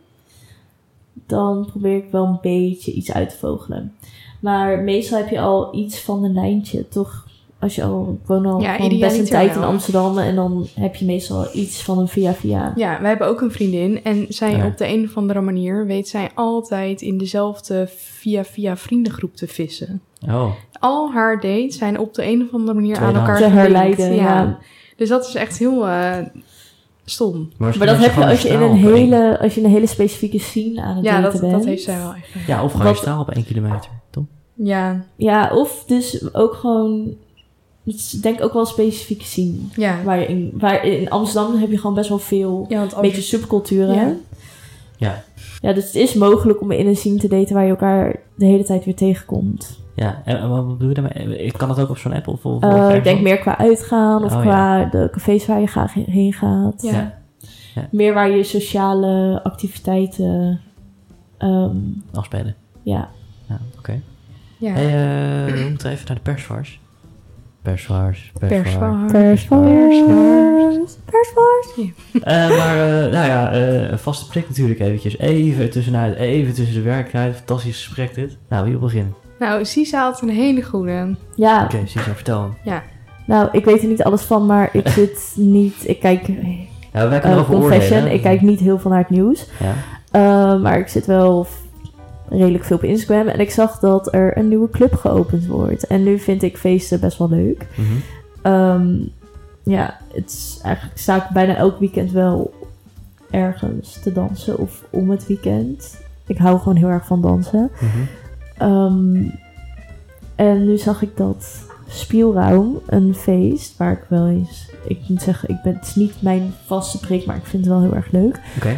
C: dan probeer ik wel een beetje iets uit te vogelen. Maar meestal heb je al iets van een lijntje, toch? Als je al, ik woon al
B: Ja,
C: gewoon best
B: idealiter
C: een tijd in
B: wel.
C: Amsterdam en dan heb je meestal al iets van een via-via.
B: ja, wij hebben ook een vriendin. En zij
A: Ja.
B: op de een of andere manier weet zij altijd in dezelfde via-via vriendengroep te vissen.
A: Oh,
B: Al haar dates zijn op de een of andere manier aan
A: Tweedehands.
B: elkaar
C: Te
B: gelinkt.
C: herleiden, ja.
B: Dus dat is echt heel eh, stom.
C: Maar dat heb je
A: gewoon
C: als je in
A: straal
C: een
A: op één-
C: hele, als je in een hele specifieke scene aan het
B: Ja,
C: daten
B: dat,
C: bent.
B: dat heeft zij wel echt.
A: Ja, of gewoon
C: Wat-
A: straal op één kilometer, toch?
B: Ja,
C: Ja, of dus ook gewoon. Het is denk ik ook wel een specifieke scene.
B: ja.
C: Waar je in, waar in Amsterdam heb je gewoon best wel veel.
B: Ja, want
C: Een beetje subculturen.
B: Ja.
A: Ja.
C: ja, dus het is mogelijk om in een scene te daten waar je elkaar de hele tijd weer tegenkomt.
A: Ja, en, en wat bedoel je daarmee? Ik kan dat ook op zo'n app of... of
C: Eh,
A: of ergens
C: ik denk
A: op?
C: meer qua uitgaan of
A: Oh,
C: qua de cafés waar je graag he- heen gaat.
B: Ja.
A: Ja.
C: Meer waar je sociale activiteiten. ehm,
A: Afspelen.
C: ja.
A: Ja, oké.
B: Ja.
A: Hey, eh, we moeten even naar de perswars. Perswars, perswars.
B: Perswaar.
C: Perswars. Perswars.
A: Eh, maar, eh, nou ja, eh, een vaste prik natuurlijk eventjes. Even tussenuit, even tussen de werkelijkheid. Fantastisch gesprek dit. Nou, wie wil beginnen?
B: Nou, Sisa had een hele goede.
C: Ja,
A: Oké, Sisa, vertel hem.
C: nou, ik weet er niet alles van, maar ik zit niet. Ik kijk
A: Ja, wij kunnen
C: Eh,
A: wel
C: confession,
A: veroordelen.
C: ik kijk niet heel veel naar het nieuws.
A: Ja.
C: Eh, maar ik zit wel f- redelijk veel op Instagram. En ik zag dat er een nieuwe club geopend wordt. En nu vind ik feesten best wel leuk.
A: Mhm.
C: Ehm, ja, het is eigenlijk sta ik bijna elk weekend wel ergens te dansen. Of om het weekend. Ik hou gewoon heel erg van dansen.
A: mhm.
C: Ehm, en nu zag ik dat Spielraum, een feest waar ik wel eens... Ik moet zeggen, ik ben, het is niet mijn vaste prik, maar ik vind het wel heel erg leuk.
A: Oké.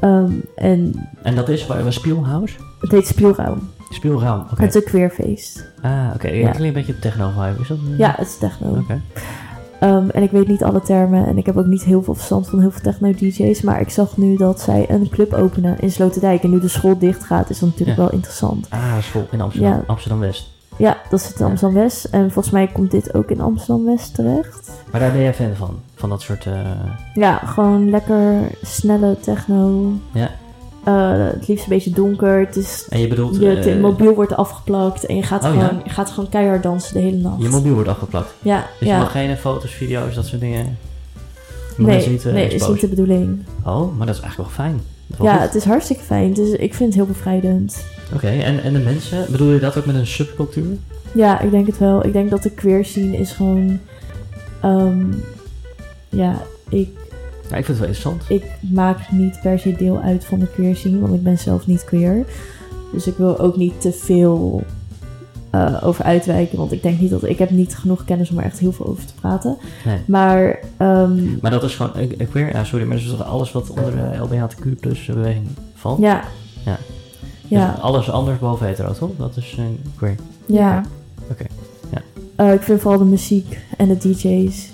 C: Ehm, en
A: En dat is waar, waar Spielhaus?
C: het heet Spielraum.
A: Spielraam, oké.
C: Het is een queerfeest.
A: Ah, oké.
C: Ja.
A: Het klinkt een beetje techno-vibe, is dat? eh?
C: Ja, het is techno.
A: Oké.
C: Ehm, en ik weet niet alle termen en ik heb ook niet heel veel verstand van heel veel techno-dj's. Maar ik zag nu dat zij een club openen in Sloterdijk. En nu de school dicht gaat, is dat natuurlijk
A: Ja.
C: wel interessant.
A: Ah, school in Amsterdam.
C: Ja.
A: Amsterdam-West.
C: Ja, dat zit in Amsterdam-West. En volgens mij komt dit ook in Amsterdam-West terecht.
A: Maar daar ben jij fan van? Van dat soort... eh,
C: Ja, gewoon lekker snelle techno.
A: Ja.
C: Eh, het liefst een beetje donker. Het is,
A: En je bedoelt...
C: je
A: eh,
C: te- mobiel wordt afgeplakt en je gaat,
A: Oh,
C: gewoon,
A: ja?
C: je gaat gewoon keihard dansen de hele nacht.
A: je mobiel wordt afgeplakt.
C: ja,
A: Dus
C: ja.
A: je mag geen eh, foto's, video's, dat soort dingen... Je mag
C: nee,
A: mensen niet, eh,
C: nee is niet
A: exposen.
C: de bedoeling.
A: Oh, maar dat is eigenlijk wel fijn. Dat is wel
C: Ja,
A: goed.
C: het is hartstikke fijn. Dus ik vind het heel bevrijdend.
A: Oké, en, en de mensen? Bedoel je dat ook met een subcultuur?
C: Ja, ik denk het wel. Ik denk dat de queer scene is gewoon... ehm, ja, ik
A: Ja, ik vind het wel interessant.
C: ik maak niet per se deel uit van de queer scene, want ik ben zelf niet queer. Dus ik wil ook niet te veel eh, over uitwijken, want ik denk niet dat ik heb niet genoeg kennis om er echt heel veel over te praten.
A: Nee.
C: Maar ehm,
A: Maar dat is gewoon, ik, ik weer, ja, sorry, maar dat is toch alles wat onder de LBHTQ plus beweging valt?
C: ja,
A: Ja.
C: ja,
A: Dus alles anders behalve hetero, toch? Dat is eh, een queer.
C: ja.
A: Oké, ja.
C: Eh, ik vind vooral de muziek en de DJ's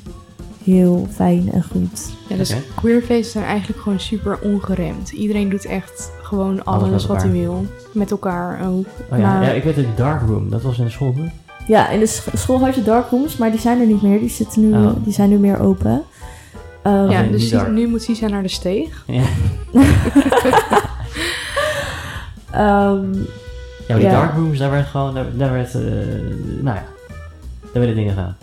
C: heel fijn en goed.
B: Ja, dus
A: Oké.
B: queerfeesten zijn eigenlijk gewoon super ongeremd. Iedereen doet echt gewoon
A: Alles
B: alles,
A: met
B: wat hij
A: elkaar.
B: wil. Met elkaar ook.
A: Oh ja,
B: Maar-
A: ja, ik weet het, Darkroom, dat was in de school, hè?
C: Ja, in de sch- school had je dark rooms, maar die zijn er niet meer. Die, zitten nu,
A: Oh.
C: die zijn nu meer open. Ehm,
A: Oké,
B: ja,
A: niet
B: dus
A: daar.
B: nu moet Sisa naar de steeg.
A: Ja.
C: ehm,
A: Oh, Ja, maar die
C: Ja.
A: darkrooms, daar werd gewoon, daar, daar werd, eh, nou ja, daar werden dingen gedaan.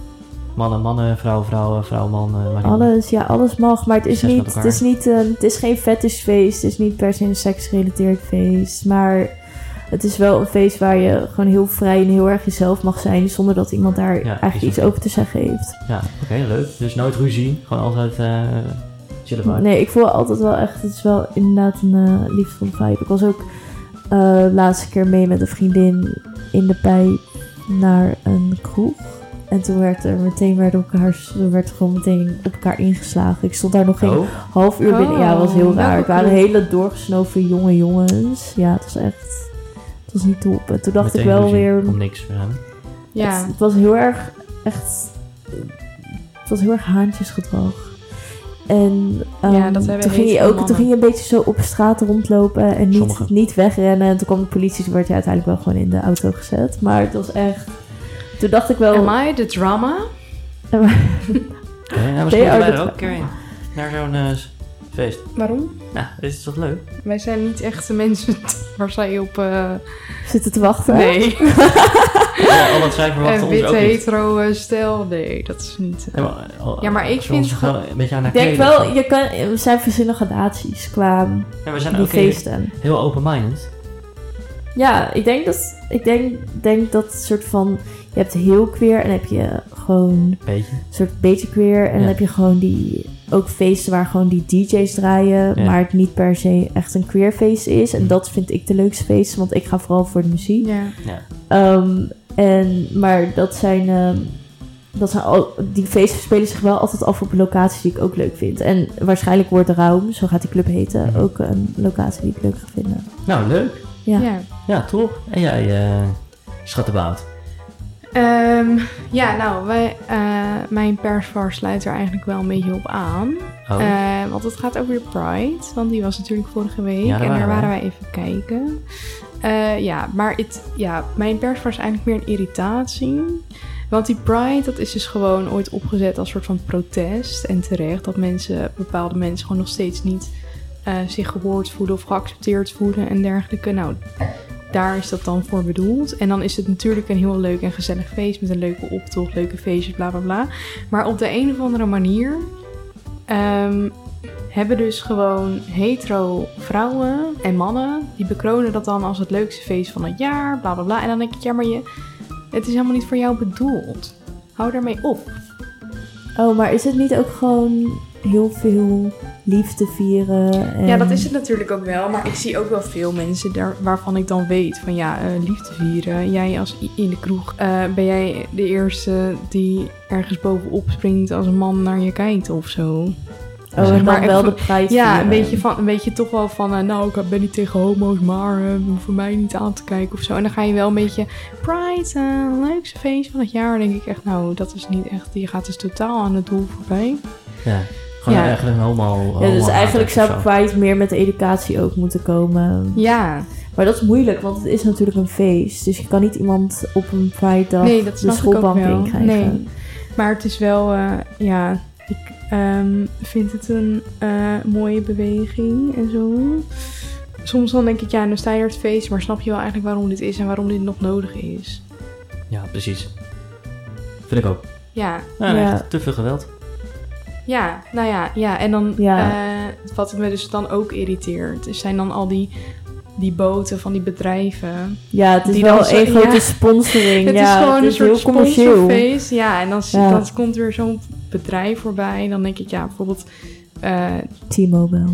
A: Mannen, mannen, vrouw, vrouw, vrouw, man, eh, maar
C: Alles, ja, alles mag. Maar het is,
A: Succes met
C: niet, het is, niet een, het is geen fetishfeest. Het is niet per se een seksgerelateerd feest. Maar het is wel een feest waar je gewoon heel vrij en heel erg jezelf mag zijn. Zonder dat iemand daar eigenlijk
A: is ook
C: iets
A: zo.
C: over te zeggen heeft.
A: Ja, oké, leuk. Dus nooit ruzie, gewoon altijd eh chillen vibe.
C: Nee, ik voel altijd wel echt... Het is wel inderdaad een eh, liefdevolle vibe. Ik was ook eh laatste keer mee met een vriendin in de pijp naar een kroeg. En toen werd er meteen werd elkaar, werd gewoon meteen op elkaar ingeslagen. Ik stond daar nog geen
A: Oh,
C: half uur binnen. Ja, dat was heel
B: Oh,
C: raar.
B: welke
C: Het waren
B: kleur?
C: hele doorgesnoven jonge jongens. Ja, het was echt... Het was niet top. En toen dacht
A: meteen
C: ik wel
A: ruzie,
C: weer...
A: Om niks aan.
B: Ja,
C: Het, het was heel erg... Echt... Het was heel erg haantjesgedrag. En ehm,
B: Ja, dat hebben
C: toen, ging
B: heel
C: je
B: veel
C: ook, toen
B: mannen.
C: ging je een beetje zo op straat rondlopen en niet,
A: Sommigen.
C: niet wegrennen. En toen kwam de politie, toen werd je uiteindelijk wel gewoon in de auto gezet. Maar het was echt... Toen dacht ik wel...
B: Am I the drama?
A: Oké, nou, misschien
C: They are
A: moeten wij
C: the
A: er ook een keer heen. Naar zo'n eh, feest.
B: Waarom?
A: Nou, dit is toch leuk?
B: Wij zijn niet echt de mensen waar zij op... eh,
C: Zitten te wachten.
B: nee.
A: Ja, al wat zij verwachten
B: Een
A: ons
B: witte
A: ook niet.
B: hetero eh, stijl. Nee, dat is niet... eh,
A: Ja, maar, al-
B: Ja, maar ik
A: als we
B: vind
A: ons
B: gewoon-
A: gewoon een beetje aan haar
C: Ik denk
A: kleden of
C: wel,
A: zo.
C: je kan, er zijn verschillende gradaties qua
A: Ja, we zijn
C: die
A: ook eh,
C: feesten.
A: heel open-minded.
C: Ja, ik denk dat, ik denk, denk dat het soort van, je hebt heel queer en heb je gewoon
A: Beetje.
C: een soort beetje queer. En
A: Ja.
C: dan heb je gewoon die, ook feesten waar gewoon die DJ's draaien,
A: Ja.
C: maar het niet per se echt een queer feest is. En
A: Hm.
C: dat vind ik de leukste feest, want ik ga vooral voor de muziek.
B: Ja.
C: Ehm, en, maar dat zijn, ehm, dat zijn al, die feesten spelen zich wel altijd af op een locatie die ik ook leuk vind. En waarschijnlijk wordt de Raum, zo gaat die club heten,
A: Mhm.
C: ook een locatie die ik leuk ga vinden.
A: Nou, leuk.
C: Ja.
B: Ja.
A: Ja, toch? En jij, eh schattenbout.
B: Ehm, ja, nou, wij, eh, mijn persvar sluit er eigenlijk wel een beetje op aan.
A: Oh,
B: Eh, want het gaat over de Pride. Want die was natuurlijk vorige week.
A: Ja, daar
B: en daar
A: waren
B: waren
A: wij.
B: wij even kijken. Eh, ja, maar het, ja, mijn pers was eigenlijk meer een irritatie. Want die Pride, dat is dus gewoon ooit opgezet als soort van protest. En terecht dat mensen, bepaalde mensen gewoon nog steeds niet eh, zich gehoord voelen of geaccepteerd voelen en dergelijke. Nou, daar is dat dan voor bedoeld. En dan is het natuurlijk een heel leuk en gezellig feest met een leuke optocht, leuke feestjes, bla bla bla. Maar op de een of andere manier ehm, hebben dus gewoon hetero vrouwen en mannen. Die bekronen dat dan als het leukste feest van het jaar, bla bla bla. En dan denk ik, ja, maar je, het is helemaal niet voor jou bedoeld. Hou daarmee op.
C: Oh, maar is het niet ook gewoon heel veel liefde vieren? En...
B: Ja, dat is het natuurlijk ook wel. Maar ik zie ook wel veel mensen daar, waarvan ik dan weet van ja, eh, liefde vieren. Jij als i- in de kroeg, eh, ben jij de eerste die ergens bovenop springt als een man naar je kijkt of zo.
C: Oh,
B: zeg
C: en
B: maar
C: dan wel de
B: even-
C: prijs
B: Ja,
C: vieren.
B: een beetje, van, een beetje toch wel van, eh, nou, ik ben niet tegen homo's, maar eh, voor mij niet aan te kijken of zo. En dan ga je wel een beetje, Pride, eh, leukste feest van het jaar. Dan denk ik echt, nou, dat is niet echt, je gaat dus totaal aan het doel voorbij.
A: ja. Gewoon
B: ja.
A: eigenlijk een homo,
C: Ja, dus
A: homo
C: eigenlijk
A: aantrek of
C: zou
A: zo.
C: Pride meer met de educatie ook moeten komen.
B: Ja,
C: Maar dat is moeilijk, want het is natuurlijk een feest. Dus je kan niet iemand op een Pride-dag
B: Nee, dat
C: de
B: snap ik ook
C: schoolbank
B: wel.
C: in krijgen.
B: Nee. Maar het is wel, eh, ja, ik ehm, vind het een eh, mooie beweging en zo. Soms dan denk ik, ja, dan sta je er het feest, maar snap je wel eigenlijk waarom dit is en waarom dit nog nodig is.
A: Ja, precies. Vind ik ook.
B: Ja,
A: Nou,
C: Ja.
A: echt te veel geweld.
B: ja, nou ja, ja. En dan,
C: Ja.
B: eh, wat me dus dan ook irriteert, is zijn dan al die, die boten van die bedrijven.
C: Ja, het is
B: Die
C: wel
B: dan zo-
C: een grote
B: ja.
C: sponsoring.
B: Het
C: ja,
B: is gewoon
C: het
B: een
C: is
B: soort
C: heel commercieel.
B: sponsorfeest. Ja, en dan, zie-
C: Ja.
B: dan komt weer zo'n bedrijf voorbij. En dan denk ik, ja, bijvoorbeeld eh,
C: T-Mobile.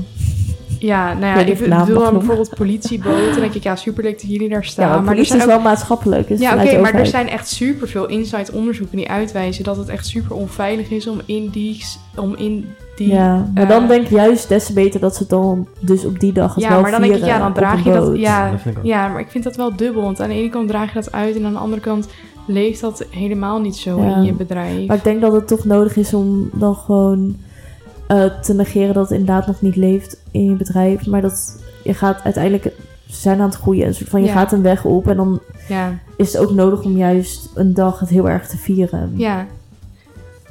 B: ja, nou ja,
C: Ja, die
B: ik
C: naam mag
B: bedoel dan
C: noemen.
B: bijvoorbeeld politieboten. Dan denk ik, ja, superleuk dat jullie daar staan.
C: Ja, maar,
B: maar er
C: politie
B: zijn
C: is
B: ook
C: wel maatschappelijk. Dus
B: Ja, oké,
C: vanuit de
B: maar er
C: overheid.
B: zijn echt superveel insight onderzoeken die uitwijzen dat het echt super onveilig is om in die... Om in die
C: ja, maar
B: eh,
C: dan denk ik juist des te beter dat ze het dan dus op die dag als
B: ja,
C: wel
B: maar dan denk ik,
C: vieren
B: ja, dan
C: op
B: draag
C: een
B: je dat...
C: boot.
A: Ja,
B: Ja,
A: dat vind ik ook.
B: ja, maar ik vind dat wel dubbel. Want aan de ene kant draag je dat uit en aan de andere kant leeft dat helemaal niet zo
C: Ja.
B: in je bedrijf.
C: Maar ik denk dat het toch nodig is om dan gewoon eh, te negeren dat het inderdaad nog niet leeft in je bedrijf. Maar dat je gaat uiteindelijk... Ze zijn aan het groeien. Een soort van, je
B: Ja.
C: gaat een weg op en dan
B: ja,
C: is het ook nodig om juist een dag het heel erg te vieren.
B: ja.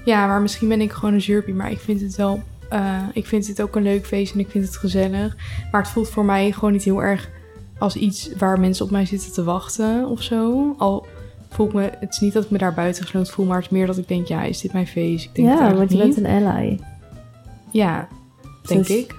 B: Ja, maar misschien ben ik gewoon een zeurpie, maar ik vind het wel... eh, ik vind dit ook een leuk feest en ik vind het gezellig. Maar het voelt voor mij gewoon niet heel erg als iets waar mensen op mij zitten te wachten of zo. Al voel ik me, het is niet dat ik me daar buitengesloten voel, maar het is meer dat ik denk, ja, is dit mijn feest? Ik denk het
C: ja, want
B: eigenlijk
C: je
B: niet.
C: bent een ally.
B: Ja, denk
C: Dus-
B: ik.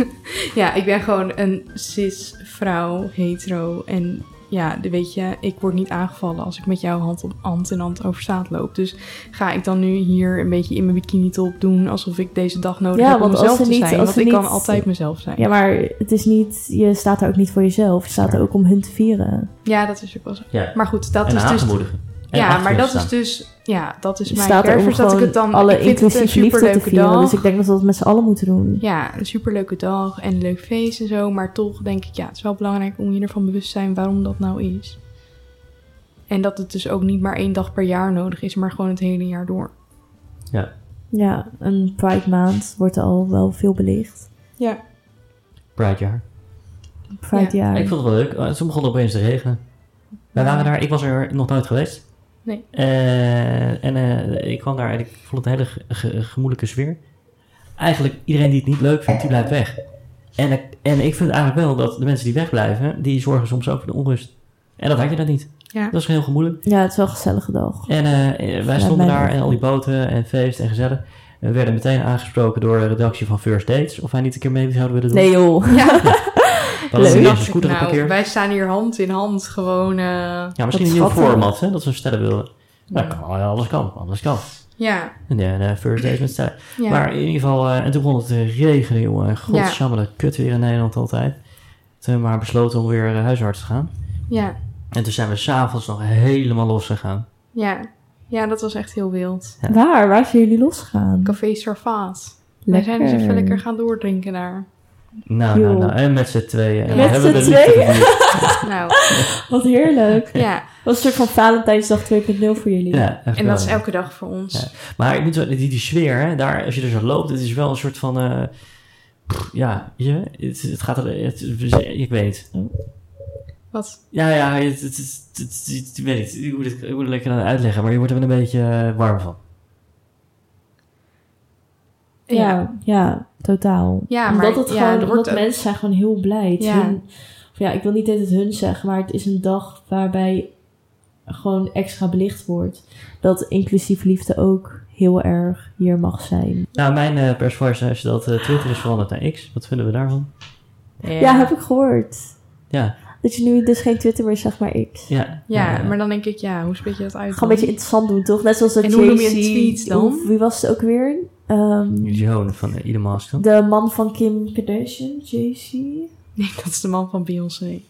B: ja, ik ben gewoon een cis vrouw, hetero. En ja, de- weet je, ik word niet aangevallen als ik met jou hand, op, hand in hand over straat loop. Dus ga ik dan nu hier een beetje in mijn bikini top doen alsof ik deze dag nodig
C: Ja,
B: heb om
C: want als
B: mezelf
C: ze
B: te
C: niet-
B: zijn?
C: als
B: Want
C: ze
B: ik kan
C: niet-
B: altijd mezelf zijn.
C: Ja, maar het is niet, je staat daar ook niet voor jezelf. Je staat er ook om hun te vieren.
B: Ja, dat is ook wel zo.
A: Ja.
B: Maar goed, dat
A: en
B: is dus...
A: aanmoedigen. En
B: Ja,
A: achter
B: maar
A: hem
B: dat
A: staan.
B: is dus... Ja, dat is
C: Je
B: mijn
C: staat er om
B: kerfers. Dat ik het
C: gewoon
B: dan...
C: alle
B: ik vind het een
C: inclusief liefde te
B: superleuke
C: vieren.
B: dag.
C: Dus ik denk dat we dat met z'n allen moeten doen.
B: Ja, een superleuke dag en een leuk feest en zo. Maar toch denk ik, ja, het is wel belangrijk om je ervan bewust te zijn waarom dat nou is. En dat het dus ook niet maar één dag per jaar nodig is, maar gewoon het hele jaar door.
A: Ja.
C: Ja, een Pride maand wordt er al wel veel belicht.
B: Ja. dus-
A: Pride jaar.
C: Pride jaar.
A: Ik vond het wel leuk. Eh, Toen begon het opeens te regenen. Wij waren daar, ik was er nog nooit geweest.
B: Nee.
A: Eh, en eh, ik kwam daar en ik vond het een hele ge- ge- gemoedelijke sfeer. Eigenlijk iedereen die het niet leuk vindt, die blijft weg. En, ik- en ik vind eigenlijk wel dat de mensen die wegblijven, die zorgen soms ook voor de onrust. En dat had je dan niet.
B: Ja.
A: Dat is heel gemoedelijk.
C: Ja, het is wel een gezellige dag.
A: En eh, eh, wij
C: Ja,
A: stonden
C: mijn
A: daar
C: ook.
A: en al die boten en feest en gezellig. We werden meteen aangesproken door de redactie van First Dates of wij niet een keer mee zouden willen doen.
C: Nee joh.
B: Ja,
A: dat is
C: leuk.
A: een scooter
B: nou,
A: geparkeerd.
B: wij staan hier hand in hand gewoon. eh,
A: Ja, misschien een
C: Dat
A: nieuw
C: schatten.
A: format, hè, dat ze stellen wilden. Nou, kan, wel, ja, alles kan, alles kan.
B: ja,
A: En ja, en, eh, First Dates met stellen.
B: ja.
A: Maar in ieder geval, eh, en toen begon het te regenen, jongen. Godsamme, dat kut weer in Nederland altijd. Toen hebben we maar besloten om weer eh, huisarts te gaan.
B: ja,
A: En toen zijn we s'avonds nog helemaal los gegaan.
B: ja. Ja, dat was echt heel wild.
A: Ja.
C: Waar? Waar zijn jullie losgaan?
B: Café Sarvaat. Wij zijn dus even lekker gaan doordrinken daar.
A: Nou, nou,
C: Joh.
A: nou, en met z'n tweeën. En
B: Met
A: we hebben de
C: z'n
A: liefde
C: tweeën?
A: verdiend.
B: Nou,
C: Wat heerlijk.
B: ja.
C: Wat een soort van Valentijnsdag 2.0 voor jullie.
A: Ja, echt wel.
B: En
A: eh,
B: dat is elke dag voor ons.
A: Maar ik moet wel, die, die sfeer, hè, daar, als je er zo loopt, het is wel een soort van. eh, pff, ja, je, het, het gaat er. Het, ik weet niet.
B: Wat?
A: Ja, ja, het, het, het, het- het- ik weet niet. Ik moet het, ik moet het lekker aan uitleggen, maar je wordt er wel een beetje eh, warm van.
C: Ja, ja, totaal.
B: Ja,
C: omdat
B: maar-
C: het
B: ja,
C: gewoon,
B: er
C: omdat
B: wordt ook-
C: mensen zijn gewoon heel blij. Het is
B: Ja.
C: hun- of ja, ik wil niet dat het hun zeggen, maar het is een dag waarbij gewoon extra belicht wordt. Dat inclusief liefde ook heel erg hier mag zijn.
A: Nou, mijn eh persvoorzitter is dat eh, Twitter is veranderd naar X. Wat vinden we daarvan?
C: Ja. heb ik gehoord.
A: Ja,
C: Dat je nu dus geen Twitter meer zegt, maar X.
A: ja.
B: Ja,
A: eh,
B: maar dan denk ik, ja, hoe spreek je dat uit?
C: Gewoon
B: dan?
C: een beetje interessant doen, toch? Net zoals dat
B: En hoe noem je
C: Jay-Z-
B: een tweet dan?
C: hoe- Wie was het ook weer? Ehm,
A: Joan van uh, Elon Musk. dan.
C: de man van Kim Kardashian, JC.
B: Nee, dat is de man van Beyoncé.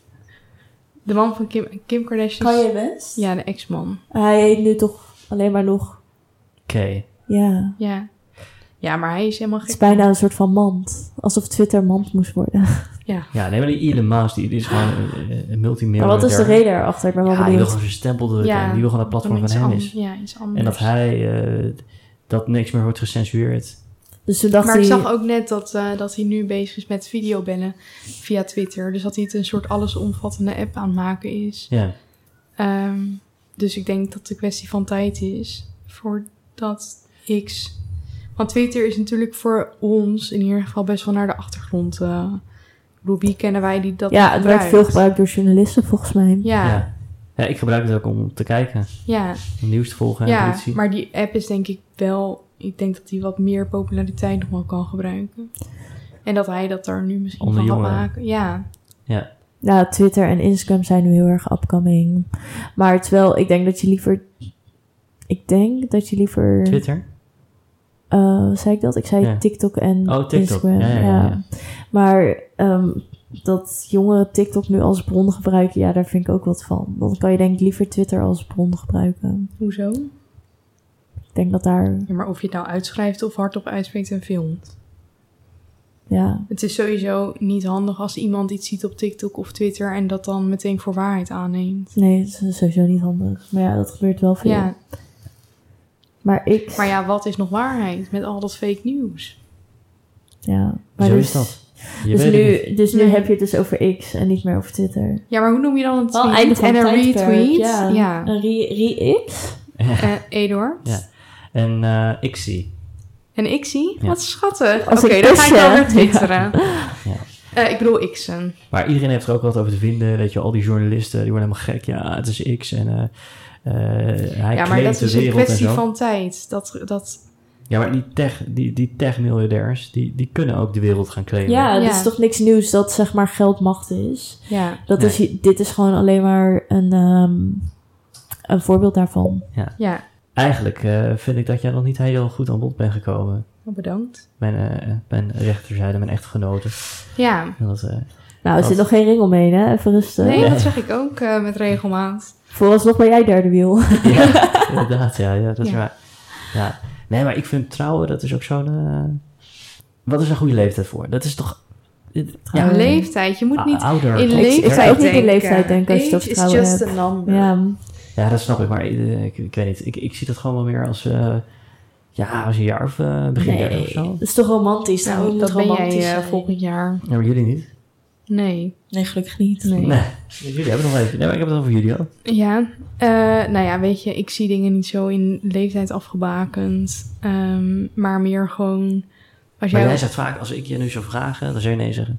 B: De man van Kim, Kim Kardashian.
C: Kanye West.
B: Ja, de ex-man.
C: Hij heet nu toch alleen maar nog...
A: Oké.
C: Ja,
B: Ja. ja, maar hij is helemaal
C: Het is
B: gek.
C: bijna een soort van mand. Alsof Twitter mand moest worden.
A: Ja, nee, maar die Elon Musk die, die is gewoon een, een
C: Maar
A: multimiljonair.
C: wat is de reden erachter? Ik ben wel
A: Ja, die wil
C: benieuwd.
A: gewoon zijn stempel drukken
B: Ja,
A: en die wil gewoon dat
B: Dan
A: platform van
B: iets
A: hem
B: anders.
A: is.
B: Ja, iets anders.
A: En dat hij eh, dat niks meer wordt gecensureerd.
C: Dus toen dacht
B: Maar ik
C: hij...
B: zag ook net dat, eh, dat hij nu bezig is met videobellen via Twitter. Dus dat hij het een soort allesomvattende app aan het maken is.
A: Ja,
B: Ehm, dus ik denk dat het een kwestie van tijd is voordat X. Want Twitter is natuurlijk voor ons in ieder geval best wel naar de achtergrond. eh ik bedoel, wie kennen wij die dat
C: ja, het werd
B: gebruikt?
C: veel gebruikt door journalisten volgens mij.
A: ja.
B: Ja, ja,
A: ja. ik gebruik het ook om te kijken,
B: ja,
A: om nieuws te volgen en politie.
B: maar die app is denk ik wel. Ik denk dat die wat meer populariteit nog wel kan gebruiken. En dat hij dat er nu misschien
A: Onder
B: van gaat
A: jongeren.
B: maken. Ja,
A: Ja,
C: Nou, Twitter en Instagram zijn nu heel erg upcoming. Maar terwijl ik denk dat je liever... Ik denk dat je liever...
A: Twitter.
C: eh, zei ik dat? Ik zei
A: Ja.
C: TikTok en
A: Oh, TikTok.
C: Instagram.
A: Ja, ja, ja, ja.
C: Maar ehm, dat jongeren TikTok nu als bron gebruiken, ja, daar vind ik ook wat van. Dan kan je denk ik liever Twitter als bron gebruiken.
B: Hoezo?
C: Ik denk dat daar,
B: Ja, maar of je het nou uitschrijft of hardop uitspreekt en filmt.
C: ja,
B: Het is sowieso niet handig als iemand iets ziet op TikTok of Twitter en dat dan meteen voor waarheid aanneemt.
C: nee, het is sowieso niet handig. Maar ja, dat gebeurt wel veel.
B: Ja,
C: Maar ik,
B: maar ja, wat is nog waarheid met al dat fake nieuws?
C: ja. Maar
A: Zo
C: dus,
A: is dat. Je
C: Dus
A: weet het niet.
C: nu, dus nu
B: Nee.
C: heb je het dus over X en niet meer over Twitter.
B: Ja, maar hoe noem je dan een
C: Wel een
B: tweet
C: einde van
B: en
C: een
B: een
C: tijdperk,
B: retweet?
C: ja.
B: ja.
C: Een re- re-X?
B: Eh, Eduard.
A: Ja. En eh, ik zie.
B: En ik zie,
A: Ja.
B: wat schattig. Oké,
C: Als
B: dan
C: ik
B: ga ik
C: dus,
B: wel
C: ja.
B: weer twitteren.
A: Ja.
B: Eh, ik bedoel x'en.
A: Maar iedereen heeft er ook wat over te vinden. Weet je, al die journalisten, die worden helemaal gek. Ja, het is X en eh, eh, hij
B: Ja, maar
A: claimt
B: dat
A: de
B: is een
A: wereld
B: kwestie
A: en zo.
B: van tijd. Dat, dat,
A: Ja, maar die tech, die, die tech miljardairs, die, die kunnen ook de wereld gaan claimen.
C: Ja,
B: Ja.
C: dit is toch niks nieuws dat zeg maar geld macht is.
B: ja,
C: Dat is, dit is gewoon alleen maar een, ehm, een voorbeeld daarvan.
B: ja.
A: Eigenlijk eh, vind ik dat jij nog niet heel goed aan bod bent gekomen.
B: Nou, Bedankt.
A: Mijn, eh, mijn rechterzijde, mijn echtgenoten.
B: Ja.
A: En Dat, eh,
C: Nou, er
A: Als-
C: zit nog geen ring omheen, hè? Even rustig.
B: Nee, dat zeg ik ook eh, met regelmaat.
C: Vooralsnog ben jij derde wiel.
A: ja, inderdaad, ja, ja dat is
B: Ja.
A: waar. Ja. Nee, maar ik vind trouwen, dat is ook zo'n... eh, wat is een goede leeftijd voor? Dat is toch...
C: Ja.
B: Leeftijd. Je moet
A: Ah,
B: niet
A: ouder.
B: in
A: toch?
B: leeftijd
C: ik zou ook niet in
B: denken. Nou,
C: leeftijd denken als je het
B: Age
C: over
B: is
C: trouwen
B: just
C: hebt.
B: a number.
C: Ja,
A: Ja, dat snap ik, maar eh, ik, ik weet niet. Ik, ik zie dat gewoon wel meer als, eh, ja, als een jaar of eh, begin dertig
C: nee.
A: of zo.
C: Dat is toch romantisch? Nou,
B: Nou,
C: moet
B: dat ben jij
C: romantisch
B: eh,
C: zijn.
B: volgend jaar.
A: Ja, maar jullie niet?
B: Nee.
C: Nee, gelukkig niet.
B: Nee.
A: Nee, jullie hebben het nog even. Nee, maar ik heb het over jullie al.
B: Ja, eh, nou ja, weet je, ik zie dingen niet zo in leeftijd afgebakend. ehm, maar meer gewoon... Als
A: Maar
B: jij,
A: jij zegt vaak, als ik je nu zou vragen, dan zou je nee zeggen.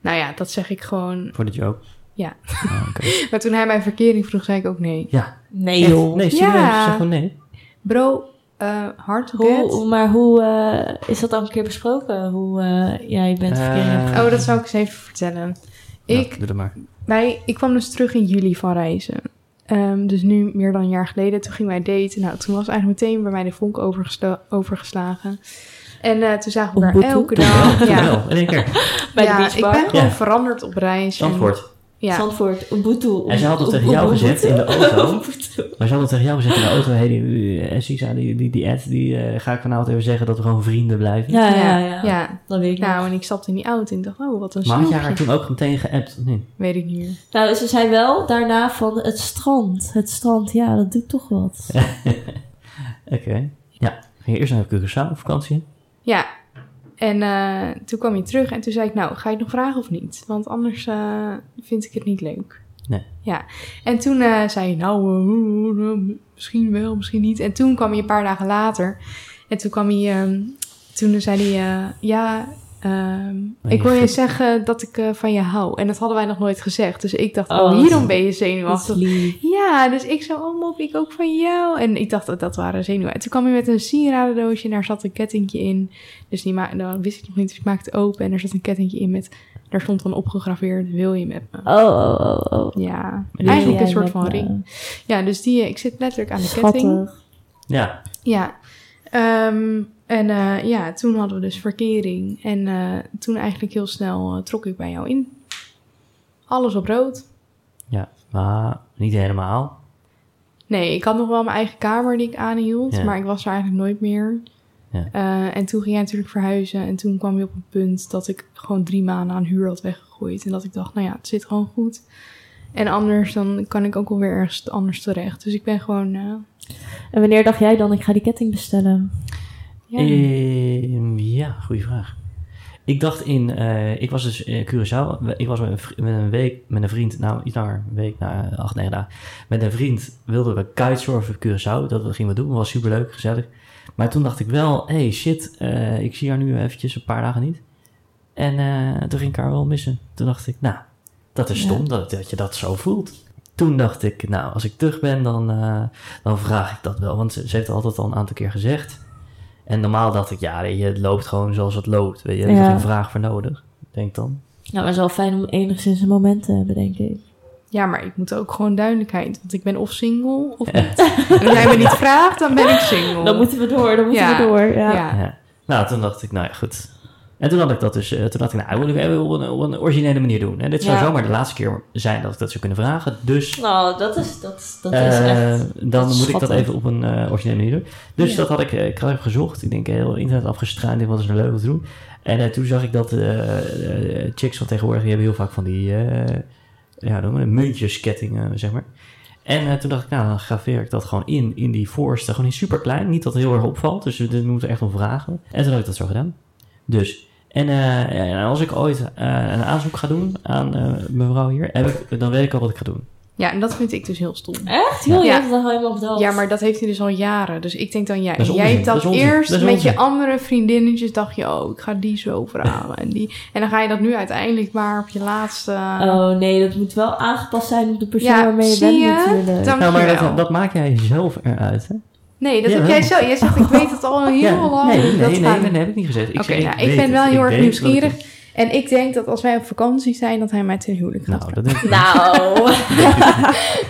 B: Nou ja, dat zeg ik gewoon.
A: Voor de joke.
B: Ja.
A: Ah, oké.
B: Maar toen hij mijn verkering vroeg, zei ik ook nee.
A: Ja.
C: Nee,
A: Echt?
C: joh.
A: Nee, serieus,
B: Ja.
A: zeg gewoon nee.
B: Bro, eh hard to get.
C: Hoe, maar hoe eh, is dat al een keer besproken? Hoe eh, jij bent
A: Eh,
C: verkeerd hebt
B: Oh, dat zou ik eens even vertellen.
A: Nou,
B: Ik,
A: doe dat maar.
B: wij, ik kwam dus terug in juli van reizen. Ehm, dus nu meer dan een jaar geleden. Toen gingen wij daten. Nou, toen was eigenlijk meteen bij mij de vonk overgesla- overgeslagen. En eh, toen zagen we elkaar
C: Ubuntu.
B: elke
A: Ja.
B: dag. Ja,
A: Wel, in één keer.
C: bij de
B: ja ik
C: beachbar.
B: ben gewoon
A: Ja.
B: veranderd op reis. en-
A: Antwoord.
B: ja,
C: Zandvoort, Ubuntu.
A: En ze had dat tegen jou gezegd in de auto. Maar ze had dat tegen jou gezegd in de auto. Hey, die, eh, Sisa, die, die, die ad, die eh, ga ik vanavond even zeggen dat we gewoon vrienden blijven.
C: Ja, ja,
B: ja,
C: ja.
B: ja.
C: Dat weet ik nog.
B: Nou, en ik stapte in die auto en ik dacht, oh, wat een
A: Maar had jij
B: snoepje.
A: haar toen ook meteen geappt? of niet?
B: Weet ik niet meer.
C: Nou, ze zei wel daarna van het strand. Het strand, ja, dat doet toch wat.
A: Oké. Ja. Ging je eerst naar Curaçao op vakantie?
B: Ja. En eh, toen kwam je terug en toen zei ik, nou, ga je het nog vragen of niet? Want anders eh, vind ik het niet leuk.
A: Nee.
B: Ja. En toen eh, zei je, nou, eh, eh, misschien wel, misschien niet. En toen kwam je een paar dagen later. En toen kwam hij, ehm, toen zei hij, eh, ja, ehm,
A: je
B: ik wil je
A: vindt-
B: zeggen dat ik eh, van je hou. En dat hadden wij nog nooit gezegd. Dus ik dacht,
C: Oh,
B: oh,
C: wat-
B: hierom ben je
C: Dat is
B: zenuwachtig.
C: lief.
B: Ja, dus ik zo, oh mop, ik ook van jou. En ik dacht dat dat waren zenuwen. En toen kwam hij met een sieradendoosje en daar zat een kettingje in. Dus die ma- dan wist ik nog niet, dus ik maakte het open en er zat een kettingje in met... Daar stond dan opgegraveerd, wil je met me?
C: Oh, oh, oh, oh.
B: Ja,
A: Ja,
B: eigenlijk
C: Jij
B: een soort
C: met
B: van
C: me.
B: ring. Ja, dus die, eh, ik zit letterlijk aan de ketting.
C: Schattig.
A: Ja.
B: Ja. Ehm, en eh, ja, toen hadden we dus verkering. En eh, toen eigenlijk heel snel eh, trok ik bij jou in. Alles op rood.
A: Ja. Maar niet helemaal.
B: Nee, ik had nog wel mijn eigen kamer die ik aanhield,
A: Ja.
B: maar ik was er eigenlijk nooit meer.
A: Ja.
B: Eh, en toen ging jij natuurlijk verhuizen en toen kwam je op een punt dat ik gewoon drie maanden aan huur had weggegooid. En dat ik dacht, nou ja, het zit gewoon goed. En anders dan kan ik ook wel weer ergens anders terecht. Dus ik ben gewoon, eh,
C: En wanneer dacht jij dan, ik ga die ketting bestellen?
B: ja.
A: Eh. Ehm, ja, goede vraag. Ik dacht in, eh, ik was dus in Curaçao. We- Ik was met een, vri- met een week met een vriend, nou iets langer, een week, nou acht, negen dagen. Met een vriend wilden we kitesurfen op Curaçao. Dat gingen we doen, was superleuk, gezellig. Maar toen dacht ik wel, hey shit, eh, ik zie haar nu eventjes een paar dagen niet. En eh, toen ging ik haar wel missen. Toen dacht ik, nou, dat is stom dat, dat je dat zo voelt. Toen dacht ik, nou, als ik terug ben, dan, eh, dan vraag ik dat wel. Want ze, ze heeft het altijd al een aantal keer gezegd. En normaal dacht ik, ja, weet je, het loopt gewoon zoals het loopt. Weet je, er is
C: Ja.
A: geen vraag voor nodig, denk ik dan.
C: Nou, maar het is wel fijn om enigszins een moment te hebben, denk ik.
B: Ja, maar ik moet ook gewoon duidelijkheid. Want ik ben of single of niet. En als jij me niet vraagt, dan ben ik single.
C: Dan moeten we door, dan moeten
B: Ja.
C: we door. Ja.
B: ja.
A: Ja. Nou, toen dacht ik, nou ja, goed. En toen had ik dat dus, eh, toen dacht ik, nou, wil ik even op een, op een originele manier doen. En dit zou
C: Ja.
A: zomaar de laatste keer zijn dat ik dat zou kunnen vragen. Dus
C: Nou, dat is, dat, is- dat is
A: eh,
C: echt...
A: dan
C: dat is
A: moet ik dat
C: schattig.
A: even op een eh, originele manier doen. Dus
C: Ja.
A: dat had ik, eh, ik had even gezocht. Ik denk, heel internet afgestruind, dit was een leuk om te doen. En eh, toen zag ik dat eh, eh, chicks van tegenwoordig, die hebben heel vaak van die, eh ja, noem maar, muntjeskettingen, zeg maar. En eh, toen dacht ik, nou, dan graveer ik dat gewoon in, in die voorste. Gewoon in super klein. Niet dat het heel erg opvalt. Dus dit moet er echt om vragen. En toen had ik dat zo gedaan. Dus. En, eh, en als ik ooit eh, een aanzoek ga doen aan eh, mevrouw hier, heb ik, dan weet ik al wat ik ga doen.
B: Ja, en dat vind ik dus heel stom.
C: Echt? Joh, je
B: Ja.
C: hebt het al helemaal bedaald.
B: Ja, maar dat heeft hij dus al jaren. Dus ik denk dan, ja,
A: Dat is
B: jij
A: onzin,
B: hebt
A: dat
B: dat,
A: is onzin,
B: eerst
A: dat is
B: met
A: onzin.
B: je andere vriendinnetjes dacht je, oh, ik ga die zo vragen. en, die. en dan ga je dat nu uiteindelijk maar op je laatste...
C: Oh nee, dat moet wel aangepast zijn op de persoon
B: Ja,
C: waarmee je
B: zie
C: bent
B: je?
C: natuurlijk.
B: Dank
A: Nou,
B: je
A: maar
B: wel.
A: dat, dat maak jij zelf eruit, hè?
B: nee, dat heb
A: Jawel.
B: jij zo. Jij zegt, ik weet het al heel
A: Ja,
B: lang.
A: nee, nee,
B: dat
A: nee,
B: gaat
A: nee,
B: niet.
A: nee, heb ik niet gezegd. Ik,
B: Oké,
A: zei,
B: nou,
A: weet
B: ik ben
A: het.
B: wel heel
A: Ik
B: erg
A: weet dat ik
B: nieuwsgierig. En ik denk dat als wij op vakantie zijn, dat hij mij ten huwelijk
A: het-
B: gaat.
A: Nou, dat denk ik.
C: Nou,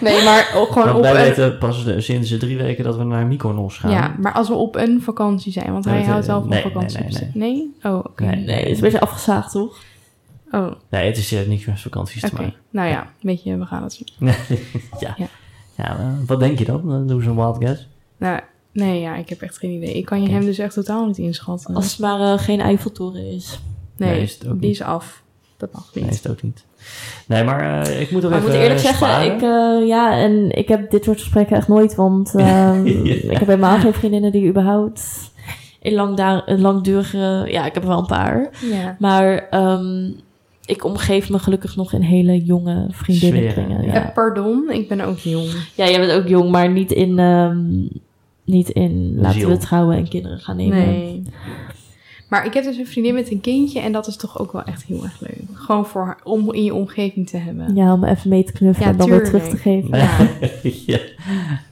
B: nee, maar ook gewoon
A: Want
B: op
A: Nou, wij
B: een...
A: weten pas eh, sinds eh, drie weken dat we naar Mykonos gaan.
B: Ja, maar als we op een vakantie zijn, want
A: Nee,
B: hij
A: dat-
B: houdt wel van
A: nee, nee,
B: vakantie.
A: nee, nee.
B: Nee? Oh, oké.
A: Nee,
C: nee, het is een beetje afgezaagd, toch?
B: Oh, oké.
A: Nee, het is eh, niks met vakanties te maken.
B: Nou ja, weet je, we gaan het zien.
A: ja. ja.
B: Ja.
A: eh, wat denk je dan? Dan doen ze een wild guess.
B: Nou, nee, ja, ik heb echt geen idee. Ik kan je
A: Oké.
B: hem dus echt totaal niet inschatten.
C: Als het maar eh, geen Eiffeltoren is.
B: nee,
A: Nee, is het ook
B: die
A: niet.
B: is af. Dat mag niet.
A: Nee, is het ook niet. Nee, maar eh, ik moet er
C: Maar ik
A: even
C: moet eerlijk
A: eh,
C: zeggen,
A: sparen.
C: ik, eh, ja, en ik heb dit soort gesprekken echt nooit, want ehm,
A: Ja.
C: ik heb helemaal geen vriendinnen die überhaupt in langda- een langdurige, ja, ik heb er wel een paar,
B: Ja.
C: maar ehm, ik omgeef me gelukkig nog in hele jonge vriendinnenkringen.
A: Sferen,
C: Ja.
A: ja.
C: Ja.
B: Eh, pardon, ik ben ook jong.
C: jij bent ook jong, maar niet in, ehm, niet in laten
A: Ziel.
C: we trouwen en kinderen gaan nemen.
B: Nee. Maar ik heb dus een vriendin met een kindje en dat is toch ook wel echt heel erg leuk. Gewoon voor haar- om in je omgeving te hebben.
C: Ja, om even mee te knuffelen
B: Ja,
C: en dan weer
B: tuurlijk.
C: terug te geven.
B: Ja,
A: ja.